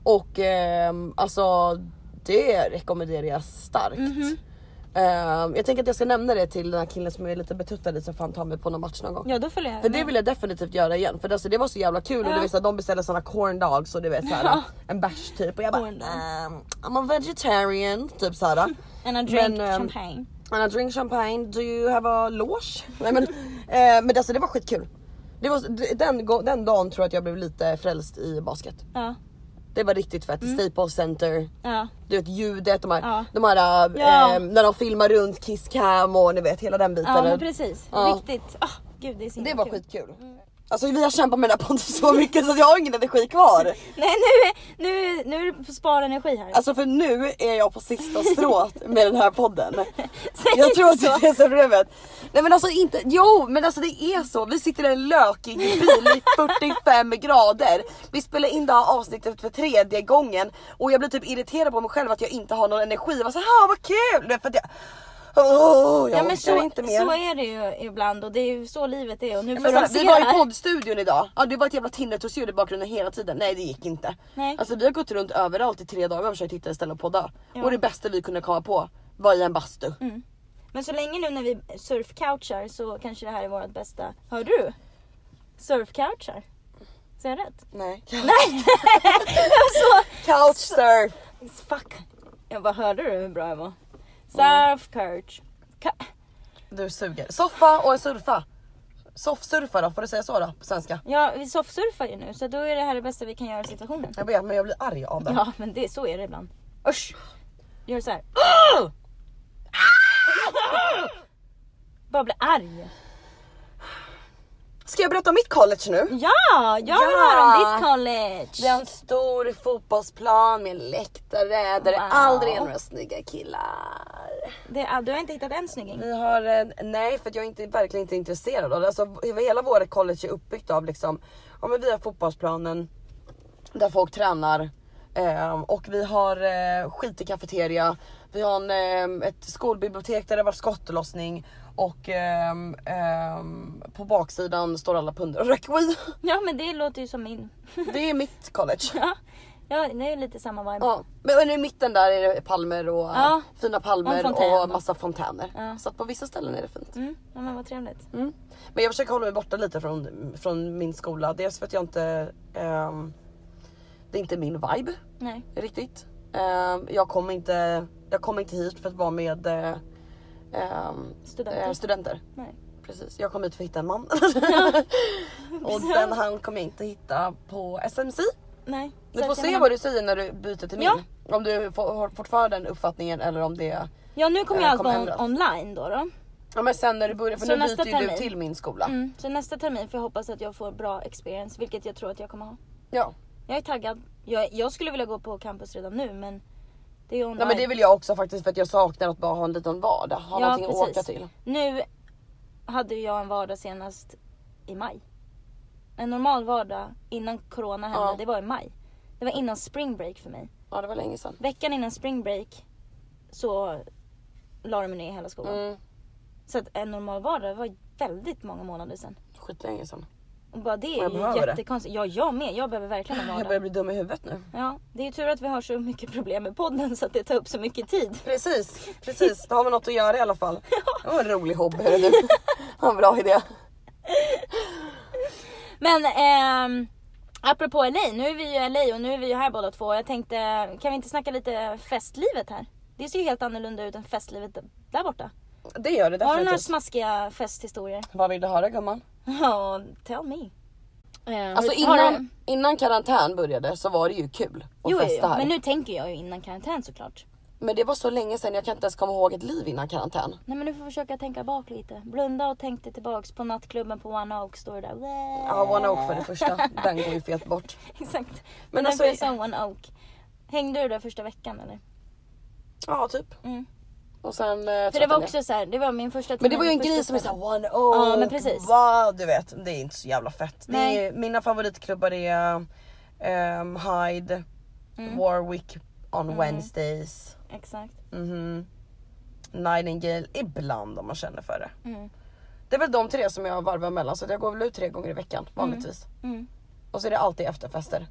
Speaker 2: Och ehm, alltså det rekommenderar jag starkt.
Speaker 1: Mhm.
Speaker 2: Ehm, jag tänker att jag ska nämna det till den här killen som jag är lite betuttad i som fan tar mig på någon match någon gång.
Speaker 1: ja då följer jag
Speaker 2: För
Speaker 1: med.
Speaker 2: det vill jag definitivt göra igen för alltså, det var så jävla kul och
Speaker 1: Ja.
Speaker 2: du vet, så här, de beställde såna corn dogs och du vet såhär, en bärs typ och jag bara
Speaker 1: Corn dog.
Speaker 2: ehm, I'm a vegetarian typ såhär.
Speaker 1: And I drink
Speaker 2: Men, ehm,
Speaker 1: champagne.
Speaker 2: And I drink champagne, do you have a loge? Nej men, eh, men alltså det var skitkul. Det var, den, gå- den dagen tror jag att jag blev lite frälst i basket.
Speaker 1: Ja.
Speaker 2: Det var riktigt fett. Staples Center,
Speaker 1: Ja.
Speaker 2: du vet ljudet, de här,
Speaker 1: Mm. Ja.
Speaker 2: de här eh,
Speaker 1: Ja.
Speaker 2: när de filmar runt Kiss Cam och ni vet hela den biten.
Speaker 1: Ja men precis.
Speaker 2: Ja.
Speaker 1: Riktigt. Ah, gud det är så
Speaker 2: det
Speaker 1: himla
Speaker 2: var
Speaker 1: kul.
Speaker 2: skitkul. Alltså vi har kämpat med den här podden så mycket så att jag har ingen energi kvar.
Speaker 1: Nej nu, är- nu, nu är det på spar energi här.
Speaker 2: Alltså för nu är jag på sista strået med den här podden.
Speaker 1: Säg
Speaker 2: Jag
Speaker 1: inte
Speaker 2: tror att
Speaker 1: så.
Speaker 2: det är så problemet. Nej men alltså inte, jo men alltså det är så. Vi sitter i en lökig bil i 45 grader. Vi spelar in det här avsnittet för tredje gången och jag blir typ irriterad på mig själv att jag inte har någon energi. Jag bara såhär, vad kul! Det är För att jag, Åh, jag
Speaker 1: ja,
Speaker 2: orkar
Speaker 1: men så,
Speaker 2: inte mer.
Speaker 1: så är det ju ibland och det är ju så livet är och nu
Speaker 2: Men
Speaker 1: får
Speaker 2: snälla,
Speaker 1: de se
Speaker 2: vi var i
Speaker 1: här.
Speaker 2: poddstudion idag. Ja, det var ett jävla tinnitusljud i bakgrunden hela tiden. Nej det gick inte.
Speaker 1: Nej.
Speaker 2: Alltså vi har gått runt överallt i tre dagar och försökt hitta ett ställe att podda.
Speaker 1: Ja. Mm.
Speaker 2: Och det bästa vi kunde komma på var i en bastu.
Speaker 1: Men så länge nu när vi surfcouchar så kanske det här är vårt bästa. Hör du? Surfcouchar. Säger jag rätt?
Speaker 2: Nej.
Speaker 1: Så,
Speaker 2: Couchsurf.
Speaker 1: fuck. Jag bara hörde du hur bra jag var? Surfcouch. Ka-
Speaker 2: Du suger. Soffa och en surfa. Soffsurfa då, får du säga så då på svenska?
Speaker 1: Ja, vi soffsurfar ju nu så då är det här det bästa vi kan göra i situationen.
Speaker 2: Jag vet men jag blir arg av det.
Speaker 1: Ja, men det, så är det ibland. Usch! Gör så här. Bara blir arg.
Speaker 2: Ska jag berätta om mitt college nu?
Speaker 1: Ja, jag vill höra om ditt college.
Speaker 2: Det är en stor fotbollsplan med läktare där det
Speaker 1: Wow.
Speaker 2: aldrig är några snygga killar.
Speaker 1: Det, du har inte hittat en snygging?
Speaker 2: Vi har en, nej för att jag är inte, verkligen inte intresserad av det. Alltså, hela vårt college är uppbyggt av liksom, ja men vi har fotbollsplanen där folk tränar eh, och vi har eh, skit i kafeteria. Vi har en, eh, ett skolbibliotek där det var skottlossning och ehm, ehm, på baksidan står alla pundare och röker weed.
Speaker 1: Ja, men det låter ju som min.
Speaker 2: Det är mitt college.
Speaker 1: Ja, ja det är lite samma vibe.
Speaker 2: Ja, men men i mitten där är det palmer och
Speaker 1: Ja.
Speaker 2: fina
Speaker 1: Och en
Speaker 2: palmer
Speaker 1: fontän.
Speaker 2: och massa fontäner.
Speaker 1: Ja.
Speaker 2: Så att på vissa ställen är det fint.
Speaker 1: Mm, ja, men vad trevligt.
Speaker 2: Mm. Men jag försöker hålla mig borta lite från, från min skola. Dels för att jag inte... ehm, det är inte min vibe
Speaker 1: Nej.
Speaker 2: riktigt. Ehm, jag, kom inte, jag kom inte hit för att vara med eh, ehm,
Speaker 1: Studenter.
Speaker 2: eh, studenter.
Speaker 1: Nej.
Speaker 2: precis. Jag kom hit för att hitta en man. och den han kommer jag inte hitta på SMC.
Speaker 1: Nej.
Speaker 2: Du
Speaker 1: så
Speaker 2: får
Speaker 1: att jag
Speaker 2: se
Speaker 1: menar-
Speaker 2: vad du säger när du byter till min.
Speaker 1: Ja.
Speaker 2: Om du får- har fortfarande den uppfattningen eller om det är...
Speaker 1: Ja nu kommer
Speaker 2: eh,
Speaker 1: ju allt
Speaker 2: kommer
Speaker 1: vara on-
Speaker 2: ändras.
Speaker 1: online då. då.
Speaker 2: Ja men sen när du börjar, för
Speaker 1: Så
Speaker 2: nu
Speaker 1: nästa
Speaker 2: byter ju du
Speaker 1: termin.
Speaker 2: till min skola.
Speaker 1: Mm. Så nästa termin får jag hoppas att jag får bra experience, vilket jag tror att jag kommer ha.
Speaker 2: Ja.
Speaker 1: Jag är taggad. Jag, jag skulle vilja gå på campus redan nu men det är ju online.
Speaker 2: Nej men det vill jag också faktiskt för att jag saknar att bara ha en liten vardag. Ha
Speaker 1: Ja,
Speaker 2: någonting att åka
Speaker 1: precis.
Speaker 2: till.
Speaker 1: Nu hade ju jag en vardag senast i maj. En normal vardag innan corona hände,
Speaker 2: Ja.
Speaker 1: det var i maj. Det var innan spring break för mig.
Speaker 2: Ja det var länge sedan.
Speaker 1: Veckan innan spring break så la de mig ner i hela skolan.
Speaker 2: Mm,
Speaker 1: Så att en normal vardag var väldigt många månader sedan.
Speaker 2: skitlänge sedan.
Speaker 1: Och bara det
Speaker 2: jag
Speaker 1: är
Speaker 2: behöver
Speaker 1: ju
Speaker 2: det.
Speaker 1: jättekonstigt. Ja, jag med. Jag behöver verkligen en
Speaker 2: Jag
Speaker 1: vardag.
Speaker 2: börjar bli dum i huvudet nu.
Speaker 1: Ja, det är ju tur att vi har så mycket problem med podden så att det tar upp så mycket tid.
Speaker 2: Precis, precis. Då har man något att göra i alla fall. Det var en rolig hobby hörru du. Ha en bra idé.
Speaker 1: Men ehm, apropå LA, nu är vi ju i LA och nu är vi ju här båda två. Jag tänkte, kan vi inte snacka lite festlivet här? Det ser ju helt annorlunda ut än festlivet där borta.
Speaker 2: Det gör det
Speaker 1: Har du några
Speaker 2: definitivt.
Speaker 1: smaskiga festhistorier?
Speaker 2: Vad vill du höra gumman?
Speaker 1: Ja, tell me. Eh,
Speaker 2: Alltså
Speaker 1: har du-
Speaker 2: innan, innan karantän började så var det ju kul att
Speaker 1: Jo, jo,
Speaker 2: festa
Speaker 1: jo, men
Speaker 2: här. Men,
Speaker 1: nu tänker jag ju innan karantän såklart.
Speaker 2: det var så länge sedan jag kan inte ens komma ihåg ett liv innan karantän.
Speaker 1: Nej men du får försöka tänka bak lite. Blunda och tänk dig tillbaks på nattklubben på One Oak står det där.
Speaker 2: Ja One Oak för det första, den går ju fet bort.
Speaker 1: Exakt. Men,
Speaker 2: Men
Speaker 1: därför jag
Speaker 2: alltså-
Speaker 1: sa One Oak. Hängde du där första veckan eller?
Speaker 2: Ja typ.
Speaker 1: Mm.
Speaker 2: Och sen
Speaker 1: För
Speaker 2: eh,
Speaker 1: det var
Speaker 2: tröttnade jag.
Speaker 1: också så här, det var min första
Speaker 2: Men det var ju en
Speaker 1: första
Speaker 2: grej som är
Speaker 1: kvällen.
Speaker 2: såhär one oak,
Speaker 1: Ja, men precis.
Speaker 2: vad du vet. Det är inte så jävla fett. Det
Speaker 1: Nej.
Speaker 2: är, mina favoritklubbar är ehm, Hyde, Mm. Warwick on Wednesdays,
Speaker 1: Exakt.
Speaker 2: mhm, Nightingale ibland om man känner för det.
Speaker 1: Mm.
Speaker 2: Det är väl de tre som jag varvar mellan så att jag går väl ut tre gånger i veckan vanligtvis.
Speaker 1: Mm.
Speaker 2: Och så är det alltid efterfester.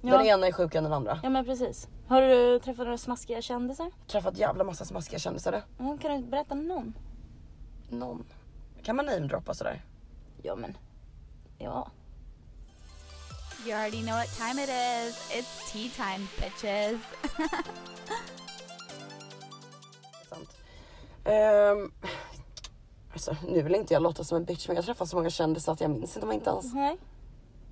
Speaker 2: Den
Speaker 1: Ja.
Speaker 2: ena är sjukare än den andra.
Speaker 1: ja men precis. Har du träffat några smaskiga kändisar?
Speaker 2: Träffat jävla massa smaskiga kändisar.
Speaker 1: Ja, Kan du berätta någon?
Speaker 2: Någon. Kan man namedroppa sådär?
Speaker 1: Ja men. Ja.
Speaker 3: You already know what time it is. It's tea time, bitches.
Speaker 2: Sant. Ehm, alltså, nu vill inte jag låta som en bitch men jag träffar så många kändisar att jag minns inte, inte ens.
Speaker 1: Nej.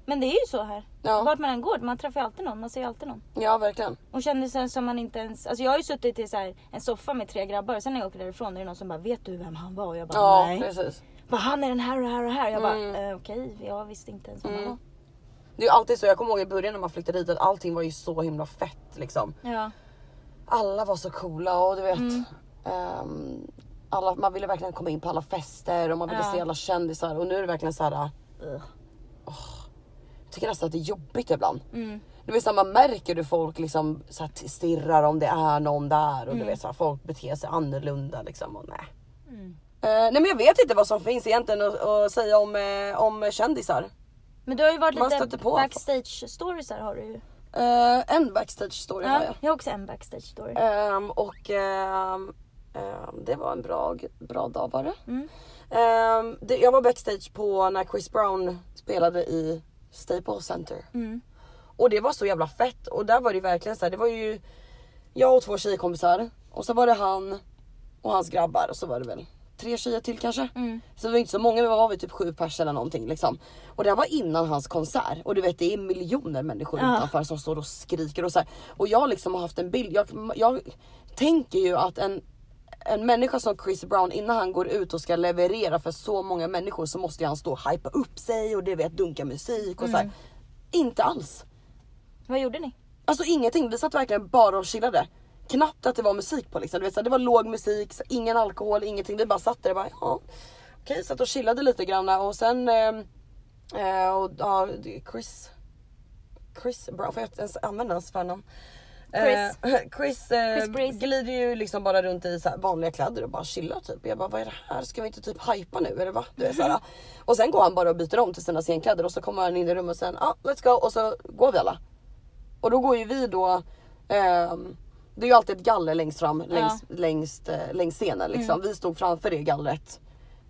Speaker 1: Men det är ju så här.
Speaker 2: Ja,
Speaker 1: Vart man än går, man träffar ju alltid någon. Man ser ju alltid någon.
Speaker 2: ja verkligen.
Speaker 1: Och kändisar som man inte ens... Alltså jag har ju suttit i så här, en soffa med tre grabbar och sen när jag åker därifrån är det någon som bara vet du vem han var? Och jag bara
Speaker 2: Ja
Speaker 1: nej.
Speaker 2: precis.
Speaker 1: Bara, han är den här och den här och den här. Jag bara
Speaker 2: Mm.
Speaker 1: eh, okej, jag visste inte ens vem han var.
Speaker 2: Mm. Det är ju alltid så, jag kommer ihåg i början när man flyttade hit att allting var ju så himla fett liksom.
Speaker 1: Ja.
Speaker 2: Alla var så coola och du vet. ehm, alla, man ville verkligen komma in på alla fester och man ville
Speaker 1: Ja.
Speaker 2: se alla kändisar och nu är det verkligen så här.
Speaker 1: Ugh.
Speaker 2: Jag tycker nästan att det är jobbigt ibland.
Speaker 1: Mm.
Speaker 2: Du vet så här, man märker hur folk liksom så här, stirrar om det är någon där och du vet så här, folk beter sig annorlunda liksom och nej. Eh, nej men jag vet inte vad som finns egentligen att, att säga om, eh, om kändisar.
Speaker 1: Men du har ju varit
Speaker 2: Man
Speaker 1: lite
Speaker 2: stöter på.
Speaker 1: backstage stories här har du ju.
Speaker 2: Eh, en backstage story har jag.
Speaker 1: jag har också en backstage story.
Speaker 2: Ehm, och ehm, ehm, det var en bra, bra dag var det.
Speaker 1: Mm.
Speaker 2: Ehm, det. Jag var backstage på när Chris Brown spelade i Staples Center.
Speaker 1: Mm.
Speaker 2: Och det var så jävla fett och där var det ju verkligen så här, det var ju jag och två tjejkompisar och så var det han och hans grabbar och så var det väl tre tjejer till kanske.
Speaker 1: Mm.
Speaker 2: Så det var inte så många, men vad var vi typ sju pers eller någonting liksom. Och det här var innan hans konsert och du vet det är miljoner människor
Speaker 1: Ja.
Speaker 2: utanför som står och skriker och så här. Och jag liksom har haft en bild, jag, jag tänker ju att en en människa som Chris Brown innan han går ut och ska leverera för så många människor så måste ju han stå och hypa upp sig och du vet dunka musik och så
Speaker 1: Mm.
Speaker 2: här. Inte alls.
Speaker 1: Vad gjorde ni?
Speaker 2: Alltså ingenting, vi satt verkligen bara och chillade. Knappt att det var musik på liksom. Du vet, så här, det var låg musik, så ingen alkohol, ingenting. Vi bara satt där och bara ja. Okej, satt och chillade lite grann och sen... Eh, eh, och, ja, Chris... Chris Brown, får jag ens använda hans förnamn?
Speaker 1: Chris.
Speaker 2: Eh, Chris, eh,
Speaker 1: Chris Breeze.
Speaker 2: glider ju liksom bara runt i så här vanliga kläder och bara chillar typ. Jag bara vad är det här? Ska vi inte typ hypa nu eller va? Du vet, så här. Och sen går han bara och byter om till sina scenkläder och så kommer han in i rummet och sen ah, let's go och så går vi alla. Och då går ju vi då, ehm, det är ju alltid ett galler längst fram längs, längst, eh, längs scenen liksom. Vi stod framför det gallret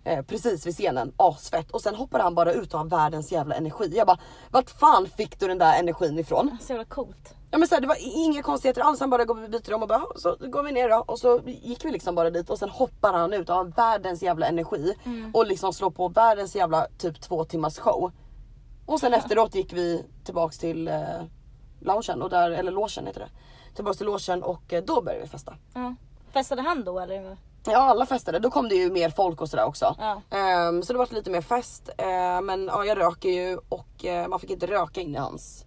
Speaker 2: eh, precis vid scenen, asfett. Och sen hoppar han bara ut och har världens jävla energi. Jag bara, vart fan fick du den där energin ifrån?
Speaker 1: Så jävla coolt.
Speaker 2: Ja men så här, det var inga konstigheter alls, han bara går och byter om och bara "Ja, så går vi ner då och så gick vi liksom bara dit och sen hoppar han ut och har världens jävla energi
Speaker 1: Mm.
Speaker 2: och liksom slår på världens jävla typ två timmars show. Och sen efteråt gick vi tillbaks till eh, loungen och där, eller logen heter det. Tillbaks till logen och eh, då började vi festa.
Speaker 1: Ja. Festade han då eller?
Speaker 2: Ja alla festade, då kom det ju mer folk och sådär också.
Speaker 1: Ja.
Speaker 2: Ehm, så det var lite mer fest. Ehm, men ja, jag röker ju och eh, man fick inte röka in i hans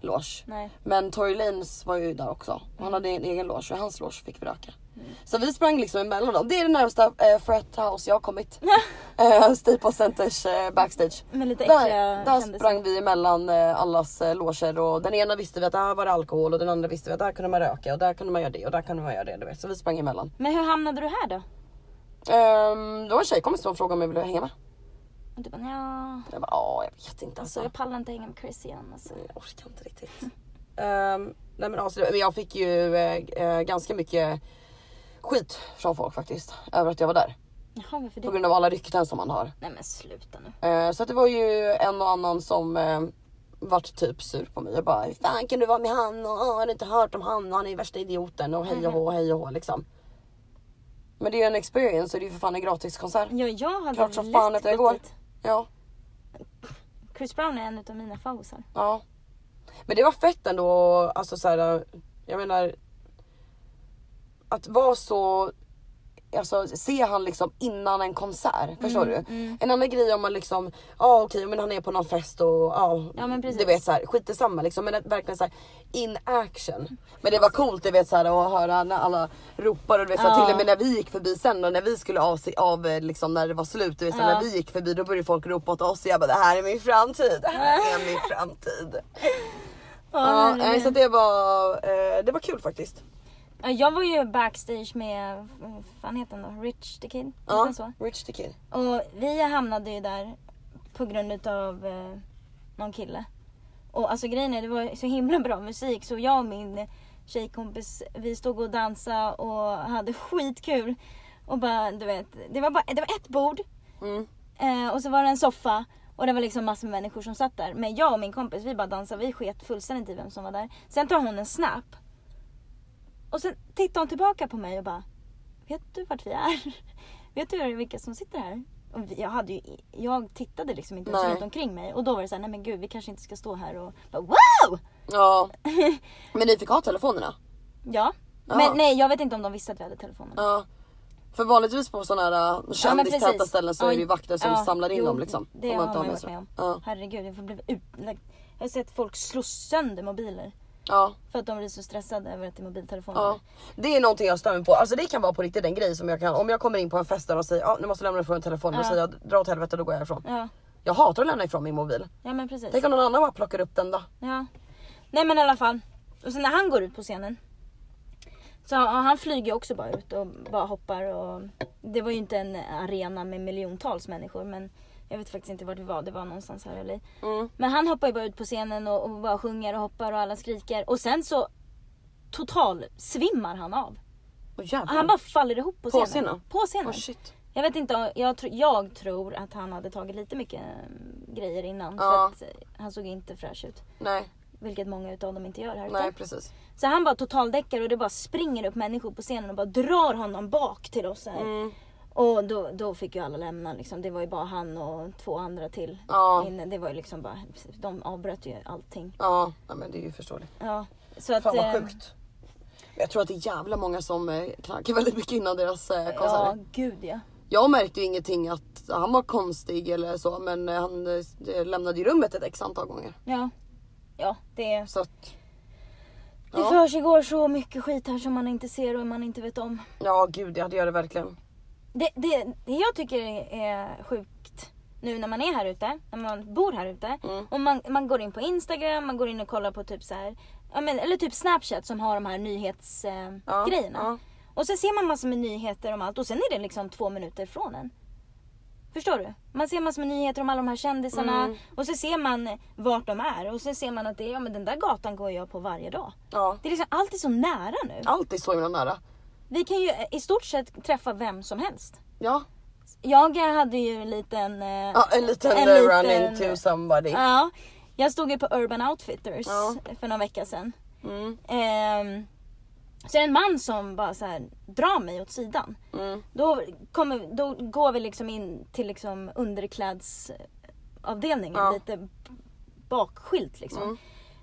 Speaker 2: loge.
Speaker 1: Nej.
Speaker 2: Men Tory Lanez var ju där också. Och han hade en egen loge och i hans loge fick vi röka. Så vi sprang liksom emellan dem. Det är det närmsta eh, frat house jag har kommit. eh, Staples Centers eh, backstage.
Speaker 1: Med lite äckliga
Speaker 2: Där, där
Speaker 1: kändisar.
Speaker 2: sprang vi emellan eh, allas eh, loger och den ena visste vi att där var det alkohol och den andra visste vi att där kunde man röka och där kunde man göra det och där kunde man göra det. Du vet. Så vi sprang emellan.
Speaker 1: Men hur hamnade du här då?
Speaker 2: Um, det var en tjejkompis som frågade om jag ville hänga med.
Speaker 1: Och du bara ja.
Speaker 2: Jag bara, "Ja, jag vet
Speaker 1: Alltså
Speaker 2: inte alltså.
Speaker 1: jag pallar inte hänga med Chris igen alltså.
Speaker 2: Jag orkar inte riktigt. Ehm, nej men alltså, det- men jag fick ju eh, eh, ganska mycket skit från folk faktiskt. Över att jag var där.
Speaker 1: Jaha varför
Speaker 2: På
Speaker 1: det?
Speaker 2: grund av alla rykten som man har.
Speaker 1: Nej men sluta nu.
Speaker 2: Eh, så att det var ju en och annan som eh, vart typ sur på mig och bara hur fan kan du vara med han och ah, har du inte hört om han och han är värsta idioten och hej och hå hej och hå liksom. Men det är ju en experience och det är ju för fan en gratiskonsert.
Speaker 1: Ja jag hade
Speaker 2: Klart som
Speaker 1: lätt
Speaker 2: fan att jag
Speaker 1: gått
Speaker 2: går.
Speaker 1: dit.
Speaker 2: Ja,
Speaker 1: Chris Brown är en av mina favoriter.
Speaker 2: ja. Men det var fett ändå alltså så här, jag menar att vara så Alltså se han liksom innan en konsert,
Speaker 1: Mm,
Speaker 2: förstår du? En annan grej om man liksom, ja okej men han är på någon fest och
Speaker 1: Ja, men precis.
Speaker 2: du vet såhär skit i samma liksom men att verkligen såhär in action. Men det var coolt du vet såhär att höra när alla ropar och du vet så här,
Speaker 1: Alltså- Ja.
Speaker 2: till och med när vi gick förbi sen och när vi skulle av, sig- av eh, liksom när det var slut, du vet så här,
Speaker 1: Ja.
Speaker 2: när vi gick förbi då började folk ropa åt oss och jag bara det här är min framtid, det här är min framtid. ja, nej, så det var, eh, det var kul faktiskt.
Speaker 1: Ja, Jag var ju backstage med, vad fan heter han då? Rich the Kid? Heter
Speaker 2: Ja,
Speaker 1: han så?
Speaker 2: Rich the Kid.
Speaker 1: Och vi hamnade ju där på grund av eh, någon kille. Och alltså grejen är, det var så himla bra musik så jag och min tjejkompis, vi stod och dansade och hade skitkul. Och bara, du vet, det var, bara, det var ett bord
Speaker 2: Mm.
Speaker 1: eh, och så var det en soffa och det var liksom massor med människor som satt där. Men jag och min kompis, vi bara dansade, vi sket fullständigt i vem som var där. Sen tar hon en snap. Och sen tittar hon tillbaka på mig och bara, vet du vart vi är? Vet du vilka som sitter här? Och vi- jag, hade ju, jag tittade liksom inte ens
Speaker 2: Nej.
Speaker 1: runt omkring mig och då var det såhär, nej men gud vi kanske inte ska stå här och bara, wow!
Speaker 2: Ja. Men ni fick ha telefonerna?
Speaker 1: Ja.
Speaker 2: Ja.
Speaker 1: Men nej jag vet inte om de visste att vi hade telefonen.
Speaker 2: Ja. För vanligtvis på sådana här äh, kändistäta
Speaker 1: precis.
Speaker 2: ställen så
Speaker 1: Ja,
Speaker 2: är det ju vakter som
Speaker 1: ja,
Speaker 2: samlar in
Speaker 1: jo,
Speaker 2: dem liksom.
Speaker 1: Det
Speaker 2: om
Speaker 1: har
Speaker 2: man inte
Speaker 1: man
Speaker 2: har
Speaker 1: ju
Speaker 2: med
Speaker 1: varit
Speaker 2: sig.
Speaker 1: med om.
Speaker 2: Ja.
Speaker 1: Herregud, jag får bli utlagd. Jag har sett folk slå sönder mobiler.
Speaker 2: Ja.
Speaker 1: För att de blir så stressade över att det är mobiltelefoner.
Speaker 2: Ja. Det är någonting jag stör mig på. Alltså det kan vara på riktigt en grej som jag kan, om jag kommer in på en fest där och säger ja nu måste jag lämna ifrån telefonen och
Speaker 1: Ja.
Speaker 2: säger jag dra åt helvete då går jag ifrån.
Speaker 1: Ja,
Speaker 2: Jag hatar att lämna ifrån min mobil.
Speaker 1: ja men precis.
Speaker 2: Tänk om någon annan bara plockar upp den då.
Speaker 1: Ja. Nej men i alla fall. Och sen när han går ut på scenen. Så ja, han flyger ju också bara ut och bara hoppar och det var ju inte en arena med miljontals människor men jag vet faktiskt inte vart vi var, det var någonstans här eller
Speaker 2: Mm.
Speaker 1: Men han hoppar ju bara ut på scenen och, och bara sjunger och hoppar och alla skriker och sen så total svimmar han av.
Speaker 2: Åh jävlar.
Speaker 1: Han bara faller ihop på
Speaker 2: På
Speaker 1: scenen.
Speaker 2: scenen?
Speaker 1: På scenen.
Speaker 2: Åh, shit.
Speaker 1: Jag vet inte, jag, tro, jag tror att han hade tagit lite mycket mm, grejer innan.
Speaker 2: Ja.
Speaker 1: För att eh, han såg inte fräsch ut.
Speaker 2: Nej,
Speaker 1: Vilket många utav dem inte gör här
Speaker 2: nej
Speaker 1: ute.
Speaker 2: precis.
Speaker 1: Så han bara totaldäckar och det bara springer upp människor på scenen och bara drar honom bak till oss här.
Speaker 2: Mm.
Speaker 1: Och då, då fick ju alla lämna liksom. Det var ju bara han och två andra till
Speaker 2: Ja.
Speaker 1: inne. Det var ju liksom bara, de avbröt ju allting.
Speaker 2: Ja, nej, men det är ju förståeligt.
Speaker 1: Ja. Så att,
Speaker 2: Fan vad
Speaker 1: eh,
Speaker 2: sjukt. Men Jag tror att det är jävla många som eh, knarkar väldigt mycket innan deras eh, konserter.
Speaker 1: Ja, gud ja.
Speaker 2: Jag märkte ju ingenting att han var konstig eller så men eh, han eh, lämnade ju rummet ett x antal gånger.
Speaker 1: Ja. Ja, det
Speaker 2: Så att,
Speaker 1: Det
Speaker 2: Ja.
Speaker 1: försiggår så mycket skit här som man inte ser och man inte vet om.
Speaker 2: ja gud ja det gör det verkligen.
Speaker 1: Det, det, det jag tycker är sjukt nu när man är här ute, när man bor här ute.
Speaker 2: Mm.
Speaker 1: Och man, man går in på Instagram, man går in och kollar på typ så här, ja, men, eller typ Snapchat som har de här nyhetsgrejerna.
Speaker 2: Ja,
Speaker 1: Eh, grejerna.
Speaker 2: ja.
Speaker 1: Och sen ser man massor med nyheter om allt och sen är det liksom två minuter från en. Förstår du? Man ser massor med nyheter om alla de här kändisarna
Speaker 2: Mm.
Speaker 1: och så ser man vart de är och så ser man att det är, ja men den där gatan går jag på varje dag.
Speaker 2: Ja.
Speaker 1: Det är liksom, allt är så nära nu.
Speaker 2: Allt är så himla nära.
Speaker 1: Vi kan ju i stort sett träffa vem som helst.
Speaker 2: Ja.
Speaker 1: Jag hade ju en liten... eh,
Speaker 2: ja en liten
Speaker 1: En
Speaker 2: eh,
Speaker 1: liten-
Speaker 2: run into somebody.
Speaker 1: ja, jag stod ju på Urban Outfitters
Speaker 2: Ja.
Speaker 1: för några vecka sedan.
Speaker 2: Mm.
Speaker 1: Ehm, så är det en man som bara så här drar mig åt sidan.
Speaker 2: Mm.
Speaker 1: Då, kommer, då går vi liksom in till liksom underklädsavdelningen
Speaker 2: Ja.
Speaker 1: lite bakskilt liksom.
Speaker 2: Mm.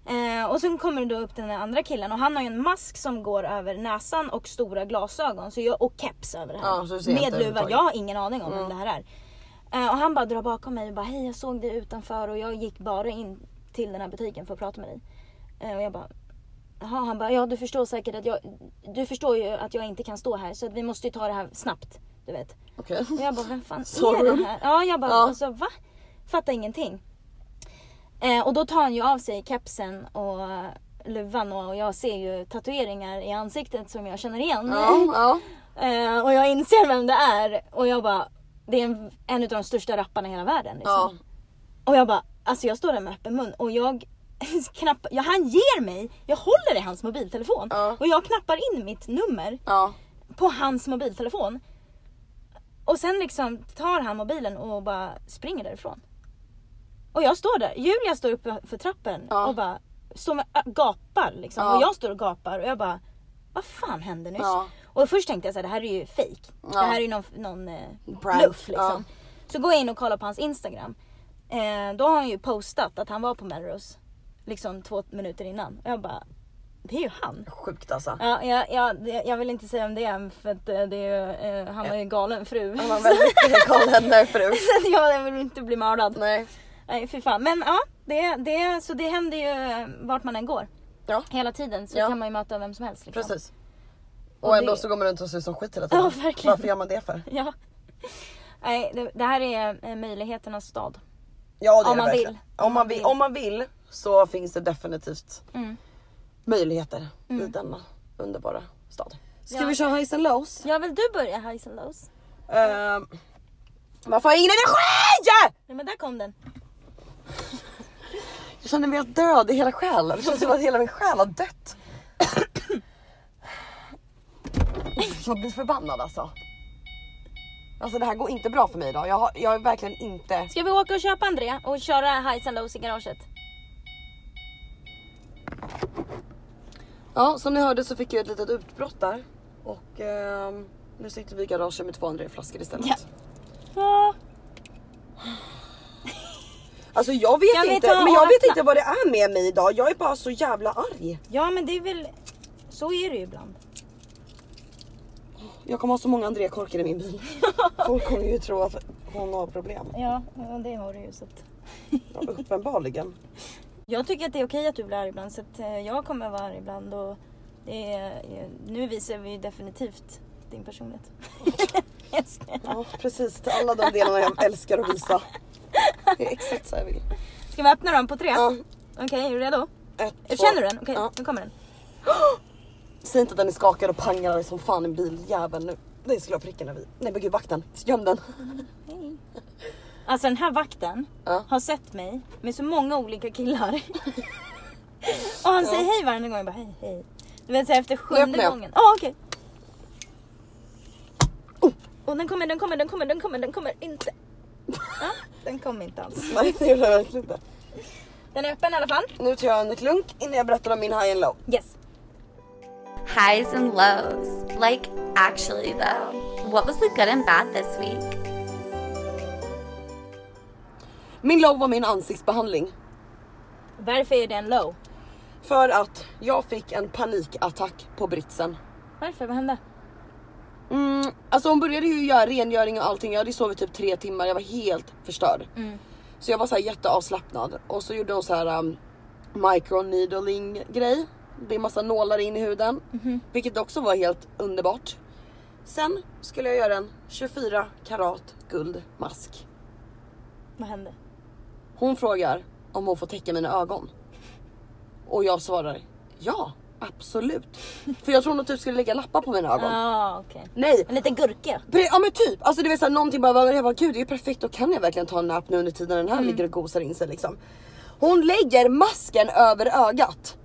Speaker 1: Eh, och sen kommer det då upp den här andra killen och han har ju en mask som går över näsan och stora glasögon så jag, och keps över det här.
Speaker 2: Ja, så du ser inte
Speaker 1: Med luva,
Speaker 2: överhuvudtaget.
Speaker 1: jag har ingen aning om
Speaker 2: Mm.
Speaker 1: vem det här är. Eh, och han bara drar bakom mig och bara hej jag såg dig utanför och jag gick bara in till den här butiken för att prata med dig. Eh, och jag bara Jaha, han bara, ja du förstår säkert att jag, du förstår ju att jag inte kan stå här så att vi måste ju ta det här snabbt. Du vet.
Speaker 2: Okej.
Speaker 1: Och jag bara, vem fan
Speaker 2: Så
Speaker 1: är det
Speaker 2: rude.
Speaker 1: här? Ja, jag bara,
Speaker 2: Ja.
Speaker 1: alltså va? Fattar ingenting. Eh, och då tar han ju av sig kepsen och luvan och, och jag ser ju tatueringar i ansiktet som jag känner igen.
Speaker 2: Ja, ja.
Speaker 1: Eh, och jag inser vem det är och jag bara, det är en, en av de största rapparna i hela världen. Liksom.
Speaker 2: Ja.
Speaker 1: Och jag bara, alltså jag står där med öppen mun och jag knappar, ja, han ger mig, jag håller i hans mobiltelefon
Speaker 2: Ja.
Speaker 1: och jag knappar in mitt nummer
Speaker 2: Ja.
Speaker 1: på hans mobiltelefon. Och sen liksom tar han mobilen och bara springer därifrån. Och jag står där, Julia står uppe för trappen
Speaker 2: Ja.
Speaker 1: och bara står med, ö- gapar liksom.
Speaker 2: Ja.
Speaker 1: Och jag står och gapar och jag bara, vad fan hände nyss?
Speaker 2: Ja.
Speaker 1: Och först tänkte jag så här, det här är ju fake. Det
Speaker 2: Ja.
Speaker 1: här är ju någon, någon eh,
Speaker 2: Prank.
Speaker 1: bluff liksom. Så går jag in och kollar på hans Instagram. Eh, då har han ju postat att han var på Melrose. Liksom två minuter innan. Och jag bara, det är ju han.
Speaker 2: Sjukt alltså.
Speaker 1: Ja, jag, jag, det- jag vill inte säga om det är för att eh, det är, ju, eh, han har ju galen fru.
Speaker 2: Han var väldigt eh, galen förut.
Speaker 1: Så att jag vill inte bli mördad. Nej,
Speaker 2: Nej.
Speaker 1: fy fan. Men ja, det, det, så det händer ju eh, vart man än går.
Speaker 2: Ja.
Speaker 1: Hela tiden så
Speaker 2: Ja.
Speaker 1: kan man ju möta vem som helst. Liksom.
Speaker 2: Precis.
Speaker 1: Och
Speaker 2: Och ändå
Speaker 1: det-
Speaker 2: så går man runt och ser ut som skit hela tiden.
Speaker 1: Ja, verkligen.
Speaker 2: Varför gör man det för?
Speaker 1: Ja. Nej, det, det här är eh, möjligheternas stad.
Speaker 2: Ja det
Speaker 1: Om
Speaker 2: är det
Speaker 1: man
Speaker 2: verkligen.
Speaker 1: vill.
Speaker 2: Om man vill. Om man vill så finns det definitivt
Speaker 1: Mm.
Speaker 2: möjligheter i denna underbara stad. Mm. Ska
Speaker 1: Ja.
Speaker 2: vi köra highs and lows?
Speaker 1: Ja, vill du börja highs and lows?
Speaker 2: Ehm, varför har jag ingen energi?
Speaker 1: Nej men där kom den.
Speaker 2: Jag känner mig helt död i hela själen. Det känns som att hela min själ har dött. Jag blir förbannad alltså. Alltså det här går inte bra för mig idag. Jag, har, jag är verkligen inte...
Speaker 1: Ska vi åka och köpa Andrea och köra highs and lows i garaget?
Speaker 2: Ja, som ni hörde så fick jag ett litet utbrott där. Och ehm, nu sitter vi i garaget med två andra flaskor istället.
Speaker 1: Ja. Ja.
Speaker 2: Alltså jag vet
Speaker 1: Kan vi
Speaker 2: inte,
Speaker 1: ta
Speaker 2: men
Speaker 1: och
Speaker 2: jag vet
Speaker 1: öppna?
Speaker 2: inte vad det är med mig idag. Jag är bara så jävla arg.
Speaker 1: Ja men det är väl, så är det ju ibland.
Speaker 2: Jag kommer ha så många André-korkar i min bil. Folk kommer ju tro att hon har problem.
Speaker 1: Ja, ja, det har du ju så att...
Speaker 2: Ja, uppenbarligen.
Speaker 1: Jag tycker att det är okej att du blir arg ibland så att eh, jag kommer vara arg ibland och det är, eh, nu visar vi ju definitivt din personlighet. Jag skojar.
Speaker 2: Ja, precis. Till alla de delarna jag älskar att visa. Det är exakt så jag vill.
Speaker 1: Ska vi öppna dem på tre?
Speaker 2: Ja,
Speaker 1: Okej, är du redo?
Speaker 2: ett, två.
Speaker 1: Känner du den? Okej,
Speaker 2: Ja.
Speaker 1: nu kommer den.
Speaker 2: Säg inte att den är skakad och pangar som fan i biljäveln nu. Det skulle jag pricka när vi... Nej men gud vakten, göm den.
Speaker 1: Hej. Alltså den här vakten
Speaker 2: Ja.
Speaker 1: har sett mig med så många olika killar. och han säger hej varje gång. Jag bara hej hej. Du vet så här, efter
Speaker 2: öppnar
Speaker 1: sjunde
Speaker 2: jag.
Speaker 1: gången. Ja okej.
Speaker 2: Oh.
Speaker 1: Och den kommer, den kommer, den kommer, den kommer, den kommer inte. Ja, den kom inte alls.
Speaker 2: Nej det gjorde jag verkligen inte.
Speaker 1: Den är öppen i alla fall.
Speaker 2: Nu tar jag en klunk innan jag berättar om min high and low.
Speaker 1: Yes.
Speaker 3: Highs and lows. Like, actually, though, what was the good and bad this week?
Speaker 2: Min low var min ansiktsbehandling.
Speaker 1: Varför är den low?
Speaker 2: För att jag fick en panikattack på britsen.
Speaker 1: Varför? Vad hände?
Speaker 2: Mm, alltså hon började ju göra rengöring och allting. Jag hade ju sovit typ tre timmar. Jag var helt förstörd. Så jag var så här jätteavslappnad och så gjorde hon så här um, microneedling grej. Det är massa nålar in i huden, vilket också var helt underbart. Sen skulle jag göra en 24 karat guldmask.
Speaker 1: Vad hände?
Speaker 2: Hon frågar om hon får täcka mina ögon. Och jag svarar ja, absolut. För jag tror hon typ skulle lägga lappar på mina
Speaker 1: Ja,
Speaker 2: ögon.
Speaker 1: ah, okej.
Speaker 2: Nej,
Speaker 1: En liten gurka.
Speaker 2: Pre- Ja men typ, alltså det var såhär någonting bara, var- jag bara gud det är ju perfekt, då kan jag verkligen ta en nap nu under tiden den här ligger och gosar in sig liksom. Hon lägger masken över ögat.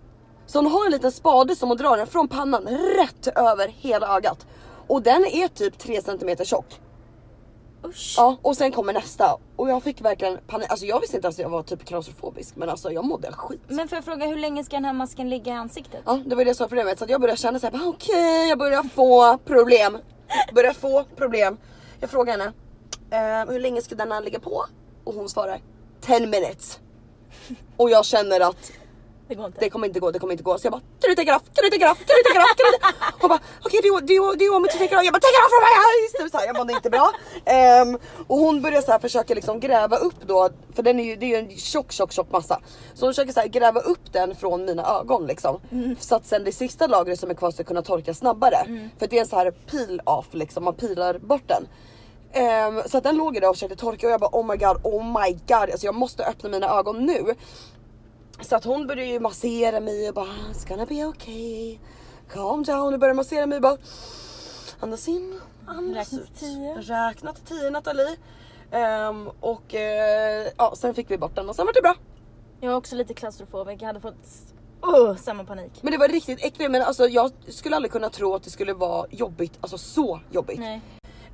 Speaker 2: Så hon har en liten spade som hon drar den från pannan rätt över hela ögat. Och den är typ 3 cm tjock.
Speaker 1: Usch.
Speaker 2: Ja, och sen kommer nästa och jag fick verkligen panik. Alltså jag visste inte ens att jag var typ klaustrofobisk men alltså jag mådde skit.
Speaker 1: Men får jag fråga hur länge ska den här masken ligga i ansiktet?
Speaker 2: Ja, det var det som var problemet. Så att jag började känna såhär, okej jag börjar få problem. Börjar få problem. Jag frågade henne, ehm, hur länge ska denna ligga på? Och hon svarar, 10 minutes. Och jag känner att
Speaker 1: Det går inte.
Speaker 2: det kommer inte gå, det kommer inte gå. Så jag bara, kan du take it off? Kan du take it off? Kan du take it off? Can you take it off? Hon bara, okej do, you- do, you- do you want me to take it off? Jag bara, take it off from my eyes! Typ så här, jag mådde inte bra. Ehm, och hon börjar så här försöka liksom gräva upp då, för den är ju, det är ju en tjock tjock tjock massa. Så hon försöker så här gräva upp den från mina ögon liksom. Så att sen det sista lagret som är kvar ska kunna torka snabbare. För det är en så här peel off liksom, man pilar bort den. Ehm, så att den låg ju där och försökte torka och jag bara oh my god, oh my god. Alltså jag måste öppna mina ögon nu. Så att hon började ju massera mig och bara It's gonna be okay. Calm down och började massera mig och bara Andas in, andas
Speaker 1: Räkna till
Speaker 2: ut.
Speaker 1: tio.
Speaker 2: Räkna till tio Nathalie. Ehm, och eh, ja, sen fick vi bort den och sen var det bra.
Speaker 1: Jag var också lite klaustrofobisk, jag hade fått oh, samma panik.
Speaker 2: Men det var riktigt äckligt men alltså jag skulle aldrig kunna tro att det skulle vara jobbigt, alltså så jobbigt.
Speaker 1: Nej.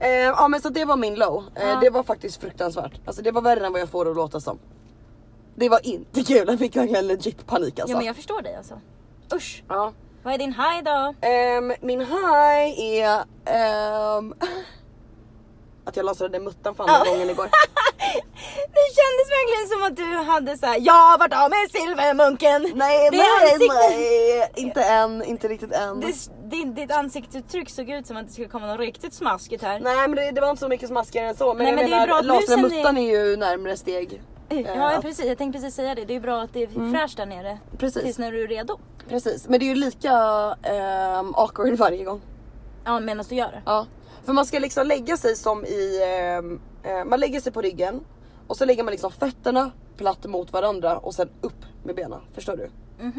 Speaker 2: Ehm, ja men så det var min low. Eh,
Speaker 1: Ja.
Speaker 2: Det var faktiskt fruktansvärt. Alltså det var värre än vad jag får det att låta som. Det var inte kul, jag fick verkligen legit panik alltså.
Speaker 1: Ja men jag förstår dig alltså. Usch.
Speaker 2: Ja.
Speaker 1: Vad är din high då?
Speaker 2: Ehm, min high är ehm, att jag lasrade muttan för andra
Speaker 1: Ja.
Speaker 2: gången igår.
Speaker 1: Det kändes verkligen som att du hade såhär, jag har varit av med silvermunken.
Speaker 2: Nej,
Speaker 1: Det
Speaker 2: nej,
Speaker 1: är ansiktet.
Speaker 2: nej, inte än, inte riktigt än.
Speaker 1: Det- Din, ditt ansiktsuttryck såg ut som att det skulle komma något riktigt smaskigt här.
Speaker 2: Nej men det, det var inte så mycket smaskigare än så. Men
Speaker 1: Nej,
Speaker 2: jag
Speaker 1: men det är
Speaker 2: menar,
Speaker 1: bra att
Speaker 2: lasrade
Speaker 1: musen är-
Speaker 2: muttan är ju närmre steg.
Speaker 1: Ja, Mm. ja precis, jag tänkte precis säga det. Det är bra att det är fräscht där nere.
Speaker 2: Precis.
Speaker 1: Tills när du är redo.
Speaker 2: Precis, men det är ju lika ehm, awkward varje gång.
Speaker 1: Ja medan du gör det.
Speaker 2: Ja, för man ska liksom lägga sig som i, ehm, eh, man lägger sig på ryggen och så lägger man liksom fötterna platt mot varandra och sen upp med benen. Förstår du?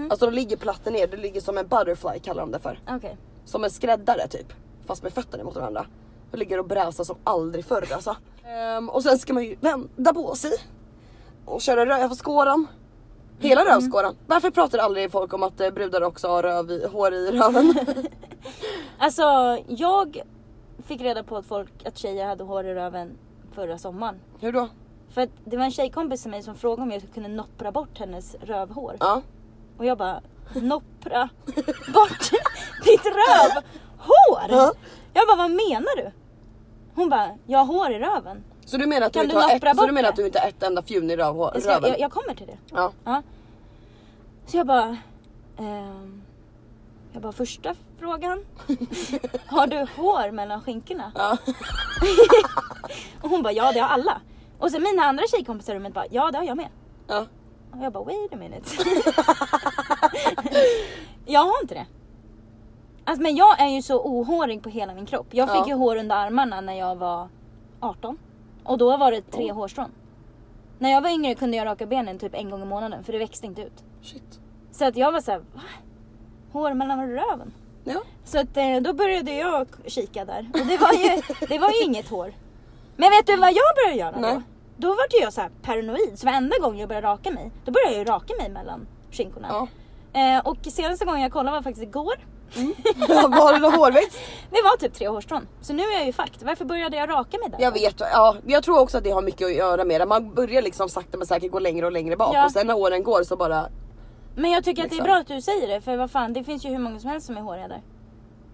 Speaker 2: Alltså de ligger platt ner, det ligger som en butterfly kallar de det för.
Speaker 1: Okej.
Speaker 2: Som en skräddare typ. Fast med fötterna mot varandra. Och ligger och bräsar som aldrig förr alltså. Ehm, och sen ska man ju vända på sig. Och köra rövskåran. Hela rövskåran. Varför pratar aldrig folk om att eh, brudar också har röv i, hår i röven?
Speaker 1: Alltså jag fick reda på att folk, att tjejer hade hår i röven förra sommaren.
Speaker 2: Hur då?
Speaker 1: För att det var en tjejkompis till mig som frågade om jag kunde noppra bort hennes rövhår.
Speaker 2: Ja.
Speaker 1: Och jag bara, noppra bort ditt rövhår?
Speaker 2: Ja.
Speaker 1: Jag bara, vad menar du? Hon bara, jag har hår i röven.
Speaker 2: Så du menar att du,
Speaker 1: Kan
Speaker 2: inte
Speaker 1: du
Speaker 2: har
Speaker 1: lappra
Speaker 2: ett, så
Speaker 1: bort
Speaker 2: du menar
Speaker 1: det?
Speaker 2: att du inte har ett enda fjun i röv,
Speaker 1: Jag, ska, jag,
Speaker 2: röven?
Speaker 1: jag kommer till det.
Speaker 2: Ja.
Speaker 1: Ja. Så jag bara, ehm, jag bara första frågan. Har du hår mellan skinkorna?
Speaker 2: Ja.
Speaker 1: Och hon bara, ja det har alla. Och sen mina andra tjejkompisar i rummet bara, ja det har jag med.
Speaker 2: ja.
Speaker 1: Och jag bara, wait a minute. jag har inte det. Alltså, men jag är ju så ohårig på hela min kropp. Jag fick
Speaker 2: Ja.
Speaker 1: ju hår under armarna när jag var 18. Och då var det tre hårstrån. När jag var yngre kunde jag raka benen typ en gång i månaden för det växte inte ut.
Speaker 2: Shit.
Speaker 1: Så att jag var såhär, va? Hår mellan röven?
Speaker 2: Ja.
Speaker 1: Så att eh, då började jag k- kika där. Och det var ju, det var ju inget hår. Men vet du vad jag började göra då?
Speaker 2: Nej.
Speaker 1: Då var jag så här paranoid. Så varenda gång jag började raka mig, då började jag ju raka mig mellan skinkorna.
Speaker 2: ja.
Speaker 1: Eh, och senaste gången jag kollade var faktiskt igår.
Speaker 2: Var det någon hårväxt?
Speaker 1: Det var typ tre hårstrån. Så nu är jag ju fucked. Varför började jag raka mig där?
Speaker 2: Jag vet, ja. Jag tror också att det har mycket att göra med det. Man börjar liksom sakta men säkert gå längre och längre bak
Speaker 1: Ja.
Speaker 2: och sen när åren går så bara,
Speaker 1: Men jag tycker att det är
Speaker 2: Liksom.
Speaker 1: bra att du säger det. För vad fan, det finns ju hur många som helst som är håriga där.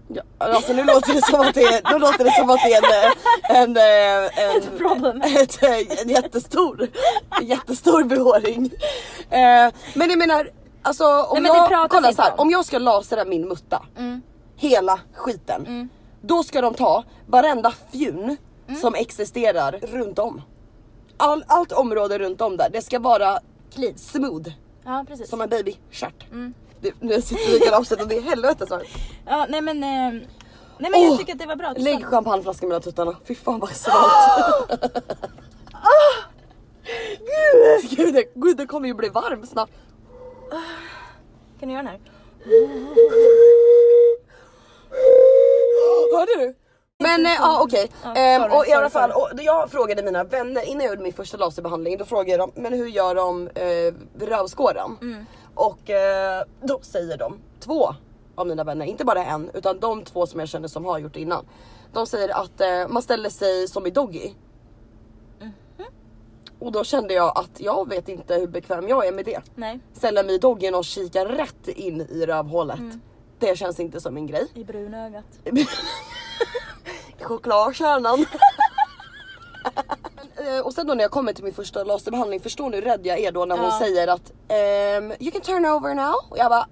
Speaker 2: ja, alltså nu låter det som att det är, nu låter det som att det är en, en, eh, en,
Speaker 1: Ett problem.
Speaker 2: ett, eh, en jättestor, en jättestor behåring. Eh, men jag menar, alltså om
Speaker 1: Nej, men det
Speaker 2: jag,
Speaker 1: pratas
Speaker 2: kolla
Speaker 1: inte
Speaker 2: så här,
Speaker 1: om.
Speaker 2: om jag ska lasera min mutta,
Speaker 1: Mm.
Speaker 2: hela skiten. Då ska de ta varenda fjun
Speaker 1: Mm.
Speaker 2: som existerar runt om. All, allt område runt om där, det ska vara
Speaker 1: Clean.
Speaker 2: smooth
Speaker 1: Ja precis.
Speaker 2: som en babystjärt.
Speaker 1: Mm.
Speaker 2: Det- Nu sitter vi i garaget och det är helvete så. här.
Speaker 1: Ja, nej men, eh, nej, men jag
Speaker 2: Åh,
Speaker 1: tycker att det var bra. att du
Speaker 2: Oh! Lägg
Speaker 1: sa.
Speaker 2: champagneflaskan mellan tuttarna, fy fan vad svalt. Gud, Ah! gud, det- gud det kommer ju bli varm snart.
Speaker 1: Kan du göra den här?
Speaker 2: Hörde du? Men eh, ja okej.
Speaker 1: Ja,
Speaker 2: Ehm,
Speaker 1: sorry,
Speaker 2: och i
Speaker 1: sorry,
Speaker 2: alla fall, och jag frågade mina vänner innan jag gjorde min första laserbehandling, då frågade jag dem men hur gör de eh, rövskåran?
Speaker 1: Mm.
Speaker 2: Och eh, då säger de, två av mina vänner, inte bara en, utan de två som jag känner som har gjort det innan. De säger att eh, man ställer sig som i doggy
Speaker 1: Mm-hmm.
Speaker 2: Och då kände jag att jag vet inte hur bekväm jag är med det.
Speaker 1: Nej,
Speaker 2: Ställa mig i doggen och kika rätt in i rövhålet.
Speaker 1: Mm.
Speaker 2: Det känns inte som min grej.
Speaker 1: i brunögat.
Speaker 2: Chokladkärnan. Men, eh, Och sen då när jag kommer till min första laserbehandling, förstår ni hur rädd jag är då när hon
Speaker 1: Ja.
Speaker 2: säger att ehm, you can turn over now. Och jag bara,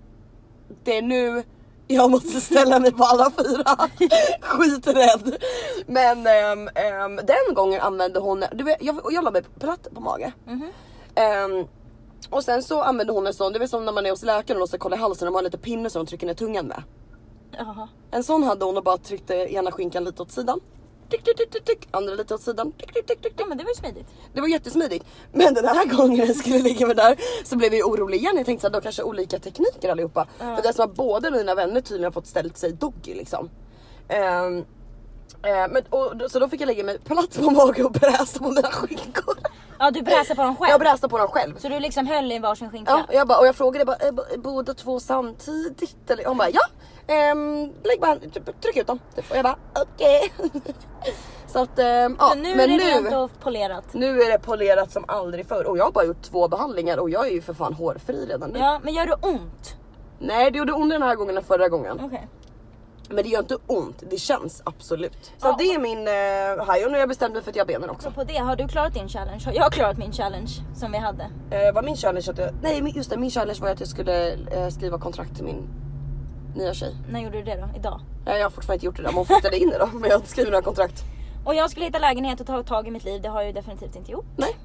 Speaker 2: det är nu jag måste ställa mig på alla fyra. Skiträdd. Men ehm, ehm, den gången använde hon, du vet, jag, och jag la mig platt på mage. Ehm, och sen så använde hon en sån, det är som när man är hos läkaren och ska kolla i halsen, de har en liten pinne som de trycker ner tungan med.
Speaker 1: Jaha.
Speaker 2: En sån hade hon och bara tryckte ena skinkan lite åt sidan. Tick, tick, tick, tick, tick. Andra lite åt sidan. Tick, tick, tick, tick,
Speaker 1: Ja
Speaker 2: tick.
Speaker 1: men det var ju smidigt.
Speaker 2: Det var jättesmidigt. Men den här gången jag skulle ligga med där så blev jag ju orolig igen. Jag tänkte såhär, de kanske har olika tekniker allihopa. För det är som att båda mina vänner tydligen har fått ställt sig doggy liksom. Ehm, eh, men, och, då- så då fick jag lägga mig platt på mage och bräsa på mina skinkor.
Speaker 1: Ja du bräsade på dem själv.
Speaker 2: Jag bräsade på dem själv.
Speaker 1: Så du liksom höll i varsin skinka?
Speaker 2: Ja, och jag, bara, och jag frågade bara, "Är b- båda två samtidigt? Eller, hon bara ja, ehm, lägg bara, typ, tryck ut dem. Typ. Och jag bara okej. Så att ehm, ja,
Speaker 1: Så nu
Speaker 2: men
Speaker 1: är det
Speaker 2: nu,
Speaker 1: rent och polerat.
Speaker 2: nu är det polerat som aldrig förr och jag har bara gjort två behandlingar och jag är ju för fan hårfri redan nu.
Speaker 1: Ja men gör det ont?
Speaker 2: Nej det gjorde ont den här gången och förra gången.
Speaker 1: Okej.
Speaker 2: Men det gör inte ont, det känns absolut. Så
Speaker 1: Ja.
Speaker 2: det är min eh, haj och nu har jag bestämt mig för att jag har benen också.
Speaker 1: Så på det, har du klarat din challenge? Har jag klarat min challenge som vi hade?
Speaker 2: Eh, var min challenge att jag, nej min- just det min challenge var att jag skulle eh, skriva kontrakt till min nya tjej.
Speaker 1: När gjorde du det då? Idag?
Speaker 2: Nej jag har fortfarande inte gjort det där, men hon flyttade in idag men jag har inte skrivit några kontrakt.
Speaker 1: Och jag skulle hitta lägenhet och ta tag i mitt liv, det har jag ju definitivt inte gjort.
Speaker 2: Nej.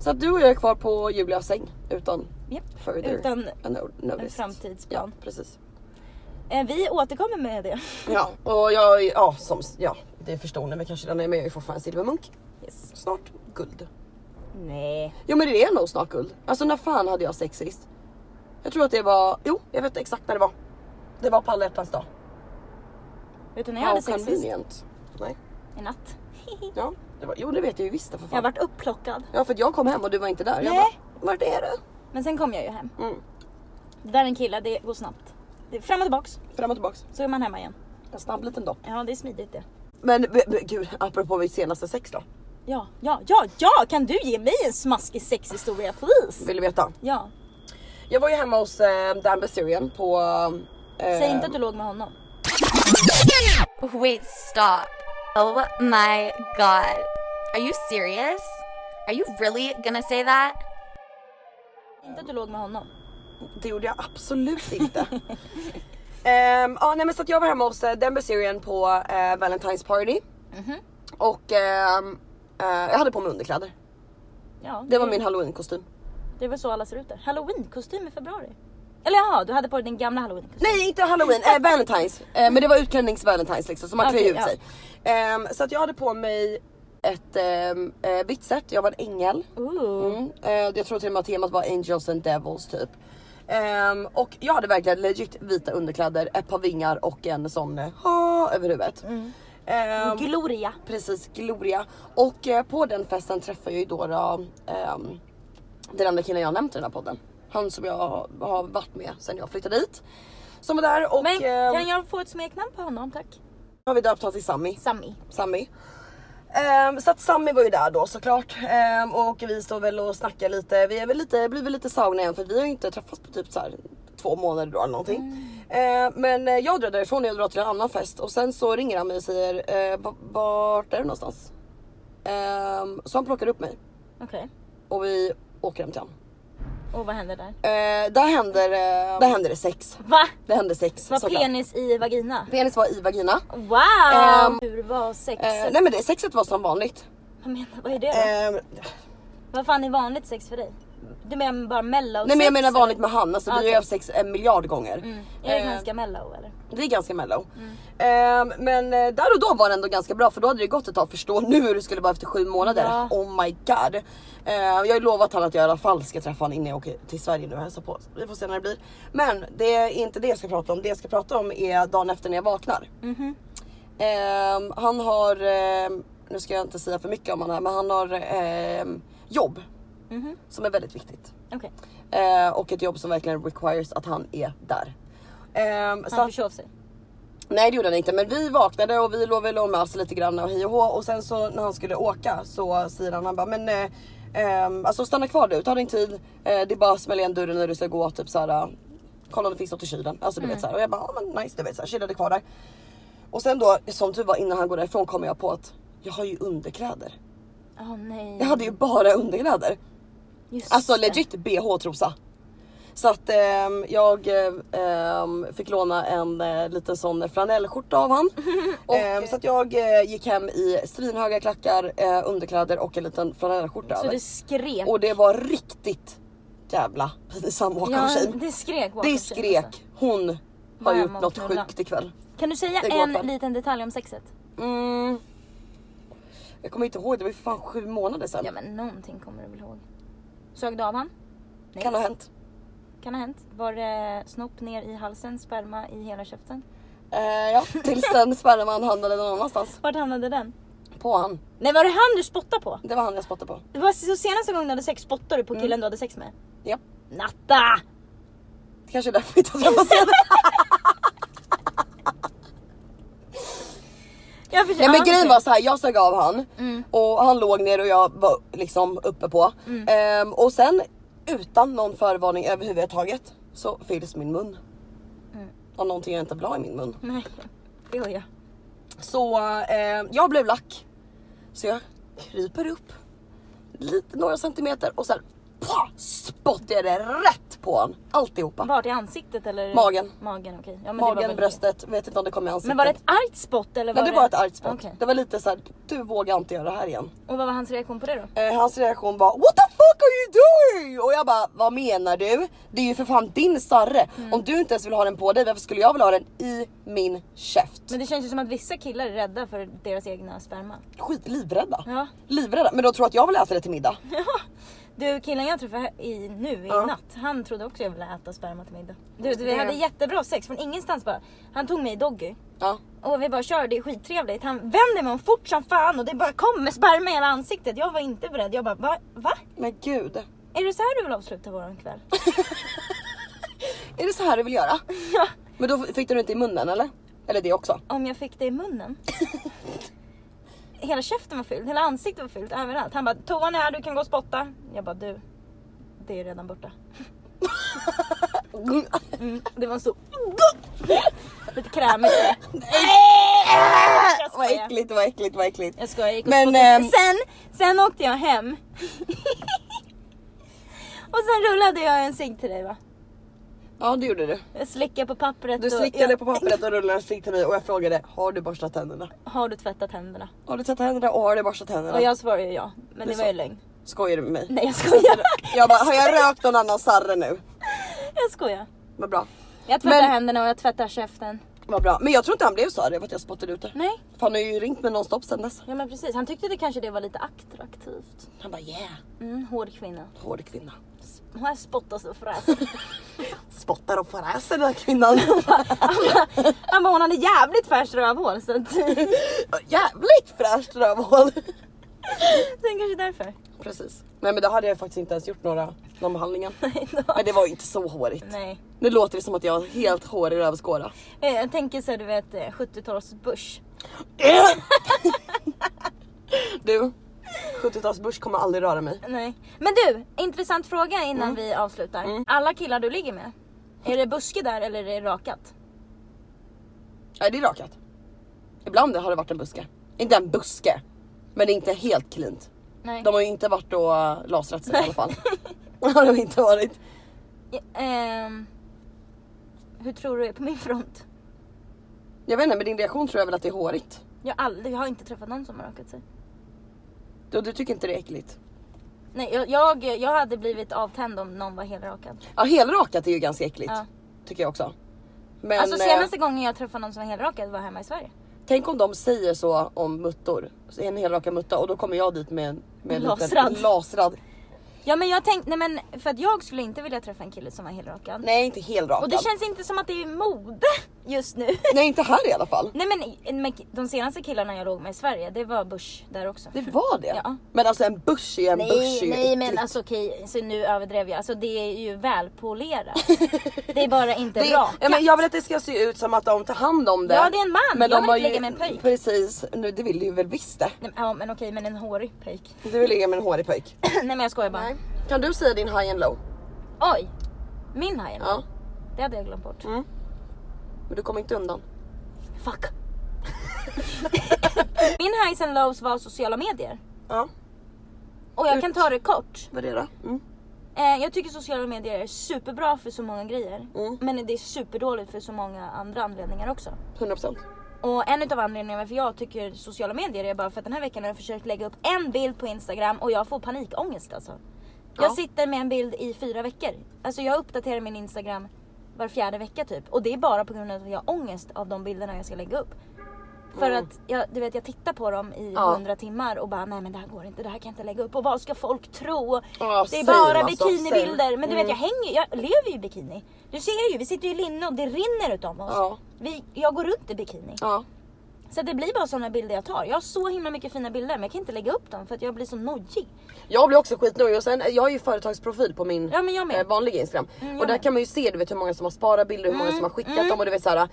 Speaker 2: Så att du och jag är kvar på Julias säng utan
Speaker 1: Japp.
Speaker 2: further
Speaker 1: Utan
Speaker 2: a no- notice.
Speaker 1: en framtidsplan.
Speaker 2: Ja precis.
Speaker 1: Eh, Vi återkommer med det.
Speaker 2: Ja och jag, är- ja som, ja det förstår ni men kanske den är med, jag är fortfarande silvermunk.
Speaker 1: Yes.
Speaker 2: Snart guld.
Speaker 1: Nej.
Speaker 2: Jo men det är nog snart guld. Alltså när fan hade jag sex sist? Jag tror att det var, jo jag vet exakt när det var. Det var på alla hjärtans dag.
Speaker 1: Vet du när jag
Speaker 2: How
Speaker 1: hade sex sist?
Speaker 2: convenient. Nej.
Speaker 1: I natt.
Speaker 2: Ja, det var, jo det vet jag ju visst för fan.
Speaker 1: Jag vart upplockad.
Speaker 2: Ja för att jag kom hem och du var inte där. Jag
Speaker 1: Nej.
Speaker 2: bara, vart är du?
Speaker 1: Men sen kom jag ju hem.
Speaker 2: Mm.
Speaker 1: Det där är en kille, det går snabbt. Det är fram och tillbaks,
Speaker 2: Fram och tillbaks.
Speaker 1: så är man hemma igen.
Speaker 2: En snabb liten dopp.
Speaker 1: Ja, det är smidigt det.
Speaker 2: Men b- b- gud, apropå mitt senaste sex då.
Speaker 1: Ja, ja, ja, ja! Kan du ge mig en smaskig sexhistoria please?
Speaker 2: Vill du veta?
Speaker 1: Ja,
Speaker 2: Jag var ju hemma hos eh, Dan Bazirian på... Eh,
Speaker 1: säg inte att du låg med honom.
Speaker 3: Wait, stop. Oh my god. Are you serious? Are you really gonna say that?
Speaker 1: Säg Inte att du låg med honom.
Speaker 2: Det gjorde jag absolut inte. Ehm, ja, nej, men så att jag var hemma hos eh, Dan Bazirian på eh, Valentine's party. Mhm. Och ehm, eh, jag hade på mig underkläder.
Speaker 1: Ja,
Speaker 2: Det var min halloween-kostym.
Speaker 1: Det är väl så alla ser ut där. Halloween-kostym i februari. Eller ja, du hade på dig din gamla halloween-kostym.
Speaker 2: Nej inte halloween, eh, valentines. Eh, men det var utklädnings-valentines liksom så man klär
Speaker 1: Okej,
Speaker 2: ut
Speaker 1: ja.
Speaker 2: sig. Ehm, så att jag hade på mig ett ehm, eh, vitt set, jag var en ängel.
Speaker 1: Ooh.
Speaker 2: Mm. Eh, jag tror till och med att temat var angels and devils typ. Ehm, och jag hade verkligen legit vita underkläder, ett par vingar och en sån eh, ha över huvudet.
Speaker 1: Mm.
Speaker 2: Ehm,
Speaker 1: Gloria.
Speaker 2: precis, Gloria. Och eh, på den festen träffade jag ju då, då ehm, den andra killen jag nämnt i den här podden. Han som jag har varit med sedan jag flyttade dit. Som var där och
Speaker 1: Men
Speaker 2: ehm,
Speaker 1: kan jag få ett smeknamn på honom tack?
Speaker 2: har vi döpt honom till Sammy.
Speaker 1: Sammy.
Speaker 2: Sammy. Ehm, så att Sammy var ju där då såklart Ehm, och vi står väl och snackar lite. Vi är väl lite, blir väl lite sauna igen för vi har ju inte träffats på typ så här två månader då eller någonting. Ehm, men eh, jag drar därifrån och jag drar till en annan fest och sen så ringer han mig och säger eh, "Va- vart är du någonstans? Ehm, så han plockar upp mig
Speaker 1: Okej.
Speaker 2: och vi åker hem till honom.
Speaker 1: Och vad händer där?
Speaker 2: Ehm, där, händer, eh, där händer det sex.
Speaker 1: Va?
Speaker 2: Det händer sex
Speaker 1: Var
Speaker 2: såklart.
Speaker 1: penis i vagina?
Speaker 2: Penis var i vagina.
Speaker 1: Wow!
Speaker 2: Ehm,
Speaker 1: Hur var sexet?
Speaker 2: Ehm, nej men det, sexet var som vanligt.
Speaker 1: Vad menar Vad är det då?
Speaker 2: Ehm,
Speaker 1: Vad fan är vanligt sex för dig? Du menar bara mellow
Speaker 2: Nej men
Speaker 1: sex,
Speaker 2: jag menar
Speaker 1: eller?
Speaker 2: vanligt med han, alltså, vi har
Speaker 1: Okej.
Speaker 2: ju haft sex en miljard gånger.
Speaker 1: Mm. Är det
Speaker 2: Eh,
Speaker 1: ganska mellow eller?
Speaker 2: det är ganska mellow.
Speaker 1: Mm.
Speaker 2: Ehm, men eh, där och då var det ändå ganska bra för då hade det gått ett tag. Förstå nu hur det skulle vara efter sju månader.
Speaker 1: Ja.
Speaker 2: Oh my god. Ehm, jag har ju lovat han att jag i alla fall ska träffa honom innan jag åker till Sverige nu och hälsar på. Vi får se när det blir. Men det är inte det jag ska prata om. Det jag ska prata om är dagen efter när jag vaknar.
Speaker 1: Mhm.
Speaker 2: Ehm, han har, ehm, nu ska jag inte säga för mycket om han här, men han har ehm, jobb.
Speaker 1: Mhm.
Speaker 2: Som är väldigt viktigt.
Speaker 1: Okej,
Speaker 2: Eh, och ett jobb som verkligen requires att han är där. Ehm, så
Speaker 1: han
Speaker 2: att,
Speaker 1: försov sig.
Speaker 2: nej det gjorde han inte men vi vaknade och vi låg väl och med oss lite grann och hej och hå och sen så när han skulle åka så säger han han bara men eh, Ehm, alltså stanna kvar du, ta din tid. Eh, det är bara att smälla igen dörren när du ska gå. Typ såhär, kolla om det finns något i kylen. Alltså du vet såhär. Och jag bara, ja men nice du vet såhär, chillade kvar där. Och sen då som tur var innan han går därifrån kommer jag på att jag har ju underkläder.
Speaker 1: Åh nej.
Speaker 2: Jag hade ju bara underkläder.
Speaker 1: Just
Speaker 2: Alltså
Speaker 1: det.
Speaker 2: legit bh trosa. Så att ehm, jag ehm, fick låna en eh, liten sån flanellskjorta av han. Ehm, så att jag eh, gick hem i svinhöga klackar, eh, underkläder och en liten flanellskjorta
Speaker 1: Så
Speaker 2: över.
Speaker 1: det skrek.
Speaker 2: alltså. Och det var riktigt jävla pinsam walk of
Speaker 1: ja,
Speaker 2: shame.
Speaker 1: det skrek bakom
Speaker 2: Det
Speaker 1: sig, alltså.
Speaker 2: skrek. Hon har
Speaker 1: Mamma
Speaker 2: gjort något
Speaker 1: knulla.
Speaker 2: sjukt ikväll.
Speaker 1: Kan du säga
Speaker 2: Det går
Speaker 1: en
Speaker 2: för.
Speaker 1: liten detalj om sexet?
Speaker 2: Mm. Jag kommer inte ihåg, det var ju för fan sju månader sedan.
Speaker 1: Ja men någonting kommer du väl ihåg? Sög du av han? Nej.
Speaker 2: Kan ha hänt.
Speaker 1: Kan ha hänt. Var det snopp ner i halsen, sperma i hela käften?
Speaker 2: Eh, ja, tills den sperman hamnade någon annanstans.
Speaker 1: Vart hamnade den?
Speaker 2: På han.
Speaker 1: Nej var det han du spottade på?
Speaker 2: Det var han jag spottade på.
Speaker 1: Det var så senaste gången du hade sex spottade du på killen
Speaker 2: Mm.
Speaker 1: du hade sex med?
Speaker 2: Ja.
Speaker 1: Natta!
Speaker 2: Det kanske är därför vi inte har träffats igen.
Speaker 1: Jag försöker-
Speaker 2: Nej men
Speaker 1: ja,
Speaker 2: grejen
Speaker 1: okej.
Speaker 2: var så här, jag sög av han
Speaker 1: Mm.
Speaker 2: och han låg ner och jag var liksom uppe på. Ehm, och sen utan någon förvarning överhuvudtaget så fylls min mun.
Speaker 1: Mm.
Speaker 2: Av någonting jag inte vill ha i min mun.
Speaker 1: Nej, det gör jag.
Speaker 2: Så ehm, jag blev lack. Så jag kryper upp lite, några centimeter och sen pah, spottar jag det rätt på honom. Alltihopa.
Speaker 1: Vart i ansiktet eller?
Speaker 2: Magen.
Speaker 1: Magen okej. Ja, men det var
Speaker 2: Magen,
Speaker 1: väl-
Speaker 2: bröstet, vet inte om det kom i ansiktet.
Speaker 1: Men var det ett argt spott eller? Var
Speaker 2: Nej det var ett argt spott.
Speaker 1: Okej.
Speaker 2: Det var lite så här, du vågar inte göra det här igen.
Speaker 1: Och vad var hans reaktion på det då?
Speaker 2: Eh, hans reaktion var What the fuck are you doing? Och jag bara vad menar du? Det är ju för fan din sarre.
Speaker 1: Mm.
Speaker 2: Om du inte ens vill ha den på dig varför skulle jag vilja ha den i min käft?
Speaker 1: Men det känns ju som att vissa killar är rädda för deras egna sperma.
Speaker 2: Skit livrädda.
Speaker 1: Ja.
Speaker 2: Livrädda. Men de tror att jag vill äta det till middag.
Speaker 1: Du killen jag träffade i, nu i
Speaker 2: Ja.
Speaker 1: natt, han trodde också jag ville äta sperma till middag. Du, du vi
Speaker 2: Det-
Speaker 1: hade jättebra sex från ingenstans bara. Han tog mig i doggy
Speaker 2: Ja.
Speaker 1: och vi bara kör, det är skittrevligt. Han vänder mig om fort som fan och det bara kommer sperma i hela ansiktet. Jag var inte beredd. Jag bara va? va?
Speaker 2: Men gud.
Speaker 1: Är det så här du vill avsluta våran kväll?
Speaker 2: Är det så här du vill göra?
Speaker 1: Ja.
Speaker 2: Men då fick du det inte i munnen eller? Eller det också?
Speaker 1: Om jag fick det i munnen? hela käften var fylld, hela ansiktet var fyllt, överallt. Han bara toan är här, du kan gå och spotta. Jag bara du, det är redan borta. Mm, det var en stor... Lite krämigt. Jag
Speaker 2: vad
Speaker 1: skojar.
Speaker 2: äckligt, vad äckligt, vad äckligt.
Speaker 1: Jag skojar, jag gick och
Speaker 2: Men,
Speaker 1: spottade.
Speaker 2: ehm,
Speaker 1: sen, sen åkte jag hem. och sen rullade jag en cigg till dig va?
Speaker 2: Ja det gjorde du.
Speaker 1: Jag slickade på pappret.
Speaker 2: Du
Speaker 1: och
Speaker 2: slickade
Speaker 1: jag,
Speaker 2: på pappret och rullade en cigg till mig och jag frågade har du borstat tänderna?
Speaker 1: Har du tvättat händerna?
Speaker 2: Har du tvättat händerna och har du borstat
Speaker 1: Och
Speaker 2: tänderna?
Speaker 1: jag svarade ju ja. Men
Speaker 2: Du
Speaker 1: det var ju
Speaker 2: sa-
Speaker 1: lögn.
Speaker 2: Skojar du med mig?
Speaker 1: Nej jag skojar.
Speaker 2: Jag bara, har jag rökt någon annan sarre nu?
Speaker 1: jag skojar.
Speaker 2: Vad bra.
Speaker 1: Jag tvättar
Speaker 2: Men-
Speaker 1: händerna och jag tvättar käften.
Speaker 2: Vad bra. Men jag tror inte han blev så arg över att jag spottade ut det.
Speaker 1: Nej,
Speaker 2: För han har ju ringt mig nonstop sen dess.
Speaker 1: ja men precis. Han tyckte det kanske det var lite attraktivt.
Speaker 2: Han bara yeah.
Speaker 1: Mm, hård kvinna.
Speaker 2: Hård kvinna.
Speaker 1: Här spottas och fräser.
Speaker 2: Spottar och fräser den här kvinnan.
Speaker 1: Han bara hon hade jävligt färskt rövhål så att...
Speaker 2: Jävligt fräscht rövhål.
Speaker 1: Sen kanske därför.
Speaker 2: Precis. Nej men då hade jag faktiskt inte ens gjort några, någon behandlingar.
Speaker 1: Nej, då-
Speaker 2: Men det var ju inte så hårigt.
Speaker 1: Nej.
Speaker 2: Nu låter det som att jag har helt hårig rövskåra.
Speaker 1: Eh, Jag tänker så här, du vet eh, 70-tals börs.
Speaker 2: du, 70-talsbörs kommer aldrig röra mig.
Speaker 1: Nej. Men du, intressant fråga innan
Speaker 2: Mm.
Speaker 1: vi avslutar. Alla killar du ligger med, är det buske där eller är det rakat?
Speaker 2: Nej det är rakat. Ibland har det varit en buske. Inte en buske. Men det är inte helt klint.
Speaker 1: Nej.
Speaker 2: De har ju inte varit och äh, lasrat sig i alla fall. Det har de inte varit.
Speaker 1: Ja, ehm, hur tror du det är på min front?
Speaker 2: Jag vet inte men din reaktion tror jag väl att det är hårigt.
Speaker 1: Jag, har aldrig, jag har inte träffat någon som har rakat sig.
Speaker 2: Du, du tycker inte det är äckligt?
Speaker 1: Nej, jag, jag, jag hade blivit avtänd om någon var helrakad.
Speaker 2: Ja helrakat är ju ganska äckligt.
Speaker 1: Ja.
Speaker 2: Tycker jag också. Men
Speaker 1: Alltså
Speaker 2: eh,
Speaker 1: senaste gången jag träffade någon som var helrakad var hemma i Sverige.
Speaker 2: tänk om de säger så om muttor. Så En helrakad mutta och då kommer jag dit med en, med en
Speaker 1: Lasrad.
Speaker 2: liten lasrad.
Speaker 1: Ja men jag tänkte, nej men för att jag skulle inte vilja träffa en kille som var helrakad.
Speaker 2: Nej inte helrakad.
Speaker 1: Och det känns inte som att det är mode. just nu.
Speaker 2: Nej inte här i alla fall.
Speaker 1: Nej men, men de senaste killarna jag låg med i Sverige, det var Bush där också.
Speaker 2: Det var det?
Speaker 1: Ja.
Speaker 2: Men alltså en bush är en
Speaker 1: Nej,
Speaker 2: bush är ju
Speaker 1: nej men
Speaker 2: äckligt.
Speaker 1: alltså okej, så nu överdrev jag. Alltså det är ju välpolerat.
Speaker 2: alltså,
Speaker 1: det är bara inte
Speaker 2: Det,
Speaker 1: bra.
Speaker 2: ja, men jag vill att det ska se ut som att de tar hand om det.
Speaker 1: Ja, det är en man. Jag vill
Speaker 2: har
Speaker 1: inte ligga med en pöjk.
Speaker 2: Precis, nu, det vill du ju väl visst det.
Speaker 1: Nej, men- Ja men okej, men en hårig pöjk.
Speaker 2: Du vill ligga med en hårig pöjk.
Speaker 1: Nej men jag skojar bara.
Speaker 2: Kan du säga din high and low?
Speaker 1: Oj! Min haj
Speaker 2: Ja.
Speaker 1: Det hade jag glömt bort.
Speaker 2: Men du kommer inte undan.
Speaker 1: Fuck. Min highs and lows var sociala medier.
Speaker 2: Ja,
Speaker 1: Och jag
Speaker 2: Ut.
Speaker 1: kan ta det kort.
Speaker 2: vad är det då? Mm.
Speaker 1: Eh, jag tycker sociala medier är superbra för så många grejer.
Speaker 2: Mm.
Speaker 1: Men det är superdåligt för så många andra anledningar också.
Speaker 2: 100%.
Speaker 1: Och en utav anledningarna varför jag tycker sociala medier är bara för att den här veckan har jag försökt lägga upp en bild på Instagram och jag får panikångest alltså.
Speaker 2: Ja.
Speaker 1: Jag sitter med en bild i fyra veckor. Alltså jag uppdaterar min Instagram var fjärde vecka typ. Och det är bara på grund av att jag har ångest av de bilderna jag ska lägga upp. För
Speaker 2: Mm.
Speaker 1: att jag, du vet, jag tittar på dem i
Speaker 2: Ja.
Speaker 1: hundra timmar och bara nej men det här går inte, det här kan jag inte lägga upp. Och vad ska folk tro?
Speaker 2: Ja,
Speaker 1: det är
Speaker 2: same,
Speaker 1: bara
Speaker 2: alltså,
Speaker 1: bikinibilder.
Speaker 2: same.
Speaker 1: Men du vet jag
Speaker 2: Mm.
Speaker 1: hänger jag lever ju i bikini. Du ser ju, vi sitter ju i linne och det rinner utav oss.
Speaker 2: Ja.
Speaker 1: Vi, jag går runt i bikini.
Speaker 2: Ja.
Speaker 1: Så att det blir bara sådana bilder jag tar. Jag har så himla mycket fina bilder men jag kan inte lägga upp dem för att jag blir så nojig.
Speaker 2: Jag blir också skitnojig och sen, jag har ju företagsprofil på min
Speaker 1: Ja, men jag med. Mm,
Speaker 2: eh, vanliga instagram.
Speaker 1: jag
Speaker 2: och där
Speaker 1: med. Mm,
Speaker 2: kan man ju se du vet, hur många som har sparat bilder, hur många som har skickat dem och du vet såhär.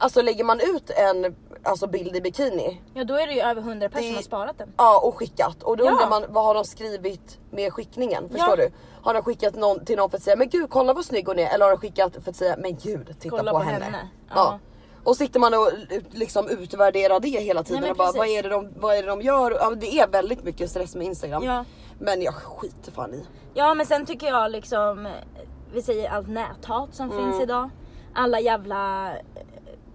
Speaker 2: Alltså lägger man ut en alltså, bild i bikini
Speaker 1: Ja då är det ju över 100 personer som har sparat den.
Speaker 2: Ja och skickat och då
Speaker 1: Ja.
Speaker 2: undrar man vad har de skrivit med skickningen? Förstår
Speaker 1: Ja.
Speaker 2: du? Har de skickat någon till någon för att säga men gud kolla vad snygg hon är eller har de skickat för att säga men gud titta
Speaker 1: Kolla
Speaker 2: på,
Speaker 1: på
Speaker 2: henne.
Speaker 1: henne.
Speaker 2: Ja.
Speaker 1: Ja.
Speaker 2: Och sitter man och ut- liksom utvärderar det hela tiden
Speaker 1: men
Speaker 2: och bara
Speaker 1: precis.
Speaker 2: vad är, det de, vad är det de gör? Ja, men det är väldigt mycket stress med instagram.
Speaker 1: Ja.
Speaker 2: Men jag skiter fan i.
Speaker 1: Ja men sen tycker jag liksom, eh, vi säger allt näthat som finns idag. Alla jävla eh,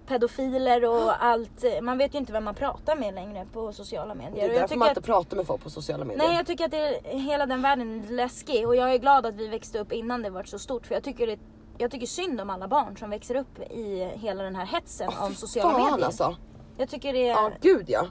Speaker 1: pedofiler och allt. eh, Man vet ju inte vem man pratar med längre på sociala medier.
Speaker 2: Det är
Speaker 1: Och jag
Speaker 2: därför
Speaker 1: tycker
Speaker 2: man
Speaker 1: att-
Speaker 2: inte pratar med folk på sociala medier.
Speaker 1: Nej jag tycker att det, hela den världen är läskig och jag är glad att vi växte upp innan det var så stort för jag tycker, det, jag tycker synd om alla barn som växer upp i hela den här hetsen
Speaker 2: Åh,
Speaker 1: av
Speaker 2: fy
Speaker 1: sociala
Speaker 2: fan,
Speaker 1: medier.
Speaker 2: Alltså.
Speaker 1: Jag tycker det är...
Speaker 2: Ja gud ja.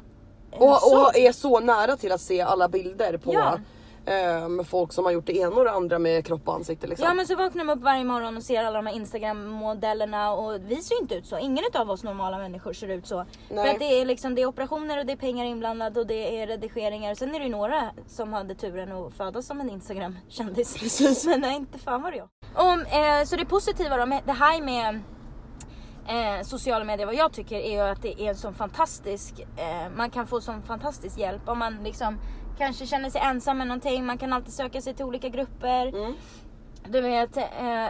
Speaker 1: Eh,
Speaker 2: Och,
Speaker 1: så-
Speaker 2: och är så nära till att se alla bilder på
Speaker 1: Ja.
Speaker 2: ehm, folk som har gjort det ena och det andra med kropp och ansikte liksom.
Speaker 1: Ja men så vaknar man upp varje morgon och ser alla de här instagram-modellerna och vi ser ju inte ut så. Ingen av oss normala människor ser ut så.
Speaker 2: Nej.
Speaker 1: För att det är liksom det är operationer och det är pengar inblandat och det är redigeringar. Sen är det ju några som hade turen att födas som en instagram-kändis. Precis. Men nej, inte fan var det jag. Om, eh, så det positiva då, med, det här med eh, sociala medier, vad jag tycker är ju att det är en sån fantastisk, eh, man kan få sån fantastisk hjälp om man liksom kanske känner sig ensam med någonting, man kan alltid söka sig till olika grupper. Du vet, eh,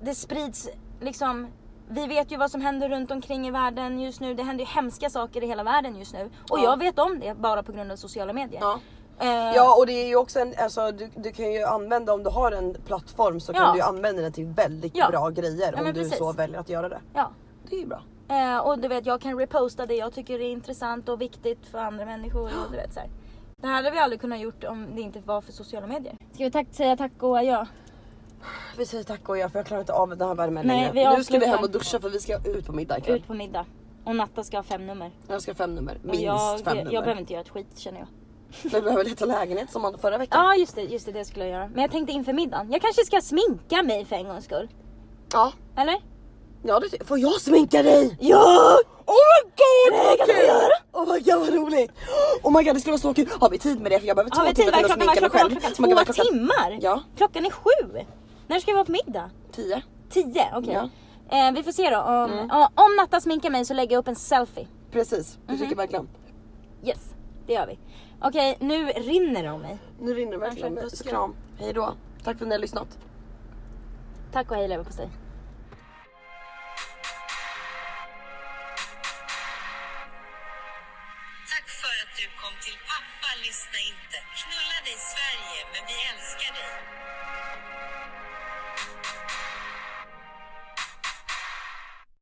Speaker 1: det sprids liksom vi vet ju vad som händer runt omkring i världen just nu. Det händer ju hemska saker i hela världen just nu. Och
Speaker 2: Ja.
Speaker 1: jag vet om det bara på grund av sociala medier.
Speaker 2: Ja.
Speaker 1: Eh,
Speaker 2: Ja och det är ju också en, alltså, du, du kan ju använda om du har en plattform så
Speaker 1: Ja.
Speaker 2: kan du ju använda den till väldigt
Speaker 1: Ja.
Speaker 2: bra grejer
Speaker 1: Ja,
Speaker 2: om
Speaker 1: men
Speaker 2: du
Speaker 1: precis.
Speaker 2: så väljer att göra det.
Speaker 1: ja.
Speaker 2: Det är ju bra.
Speaker 1: Eh, och du vet, jag kan reposta det jag tycker är intressant och viktigt för andra människor. Och du vet, så här. Det här hade vi aldrig kunnat gjort om det inte var för sociala medier. Ska vi tack, säga tack och adjö?
Speaker 2: Vi säger tack och jag för jag klarar inte av den här värmen
Speaker 1: Nej, vi
Speaker 2: längre. Nu ska vi
Speaker 1: avslutar.
Speaker 2: hem och duscha för vi ska ut på middag ikväll.
Speaker 1: Ut på middag. Och Natta ska ha fem nummer.
Speaker 2: Jag ska ha fem nummer,
Speaker 1: Och
Speaker 2: minst
Speaker 1: jag, jag
Speaker 2: fem nummer.
Speaker 1: behöver inte göra ett skit känner jag.
Speaker 2: Vi behöver leta lägenhet som förra veckan.
Speaker 1: Ja just det, just det, det skulle jag göra. Men jag tänkte inför middagen. Jag kanske ska sminka mig för en gångs skull.
Speaker 2: Ja.
Speaker 1: Eller?
Speaker 2: Ja, det, får jag sminka dig?
Speaker 1: Ja!
Speaker 2: Oh my god
Speaker 1: Nej, kan
Speaker 2: vad
Speaker 1: du göra?
Speaker 2: kul! Oh my god vad roligt! Oh my god det skulle vara så kul! Har vi tid med det? För jag behöver
Speaker 1: Har
Speaker 2: två
Speaker 1: vi
Speaker 2: timmar
Speaker 1: tid? Vad
Speaker 2: för
Speaker 1: är
Speaker 2: att
Speaker 1: klockan? Vad är
Speaker 2: sminka mig
Speaker 1: klockan?
Speaker 2: själv.
Speaker 1: Vad är
Speaker 2: Oh
Speaker 1: klockan? Två timmar?
Speaker 2: my god, klockan- Ja.
Speaker 1: Klockan är sju! När ska vi vara på middag?
Speaker 2: Tio.
Speaker 1: Tio? Okej.
Speaker 2: Ja. Mm.
Speaker 1: Eh, vi får se då. Om, ja, om Natta sminkar mig så lägger jag upp en selfie.
Speaker 2: Precis, det
Speaker 1: Mhm.
Speaker 2: tycker jag verkligen.
Speaker 1: Yes, det gör vi. Okej, nu rinner det om mig.
Speaker 2: Nu rinner det verkligen.
Speaker 1: Verkligen.
Speaker 2: Puss och kram. Hej då. Tack för att ni har lyssnat.
Speaker 1: Tack och hej leverpastej.
Speaker 4: Tack för att du kom till pappa lyssna inte. Knulla dig Sverige, men vi älskar dig.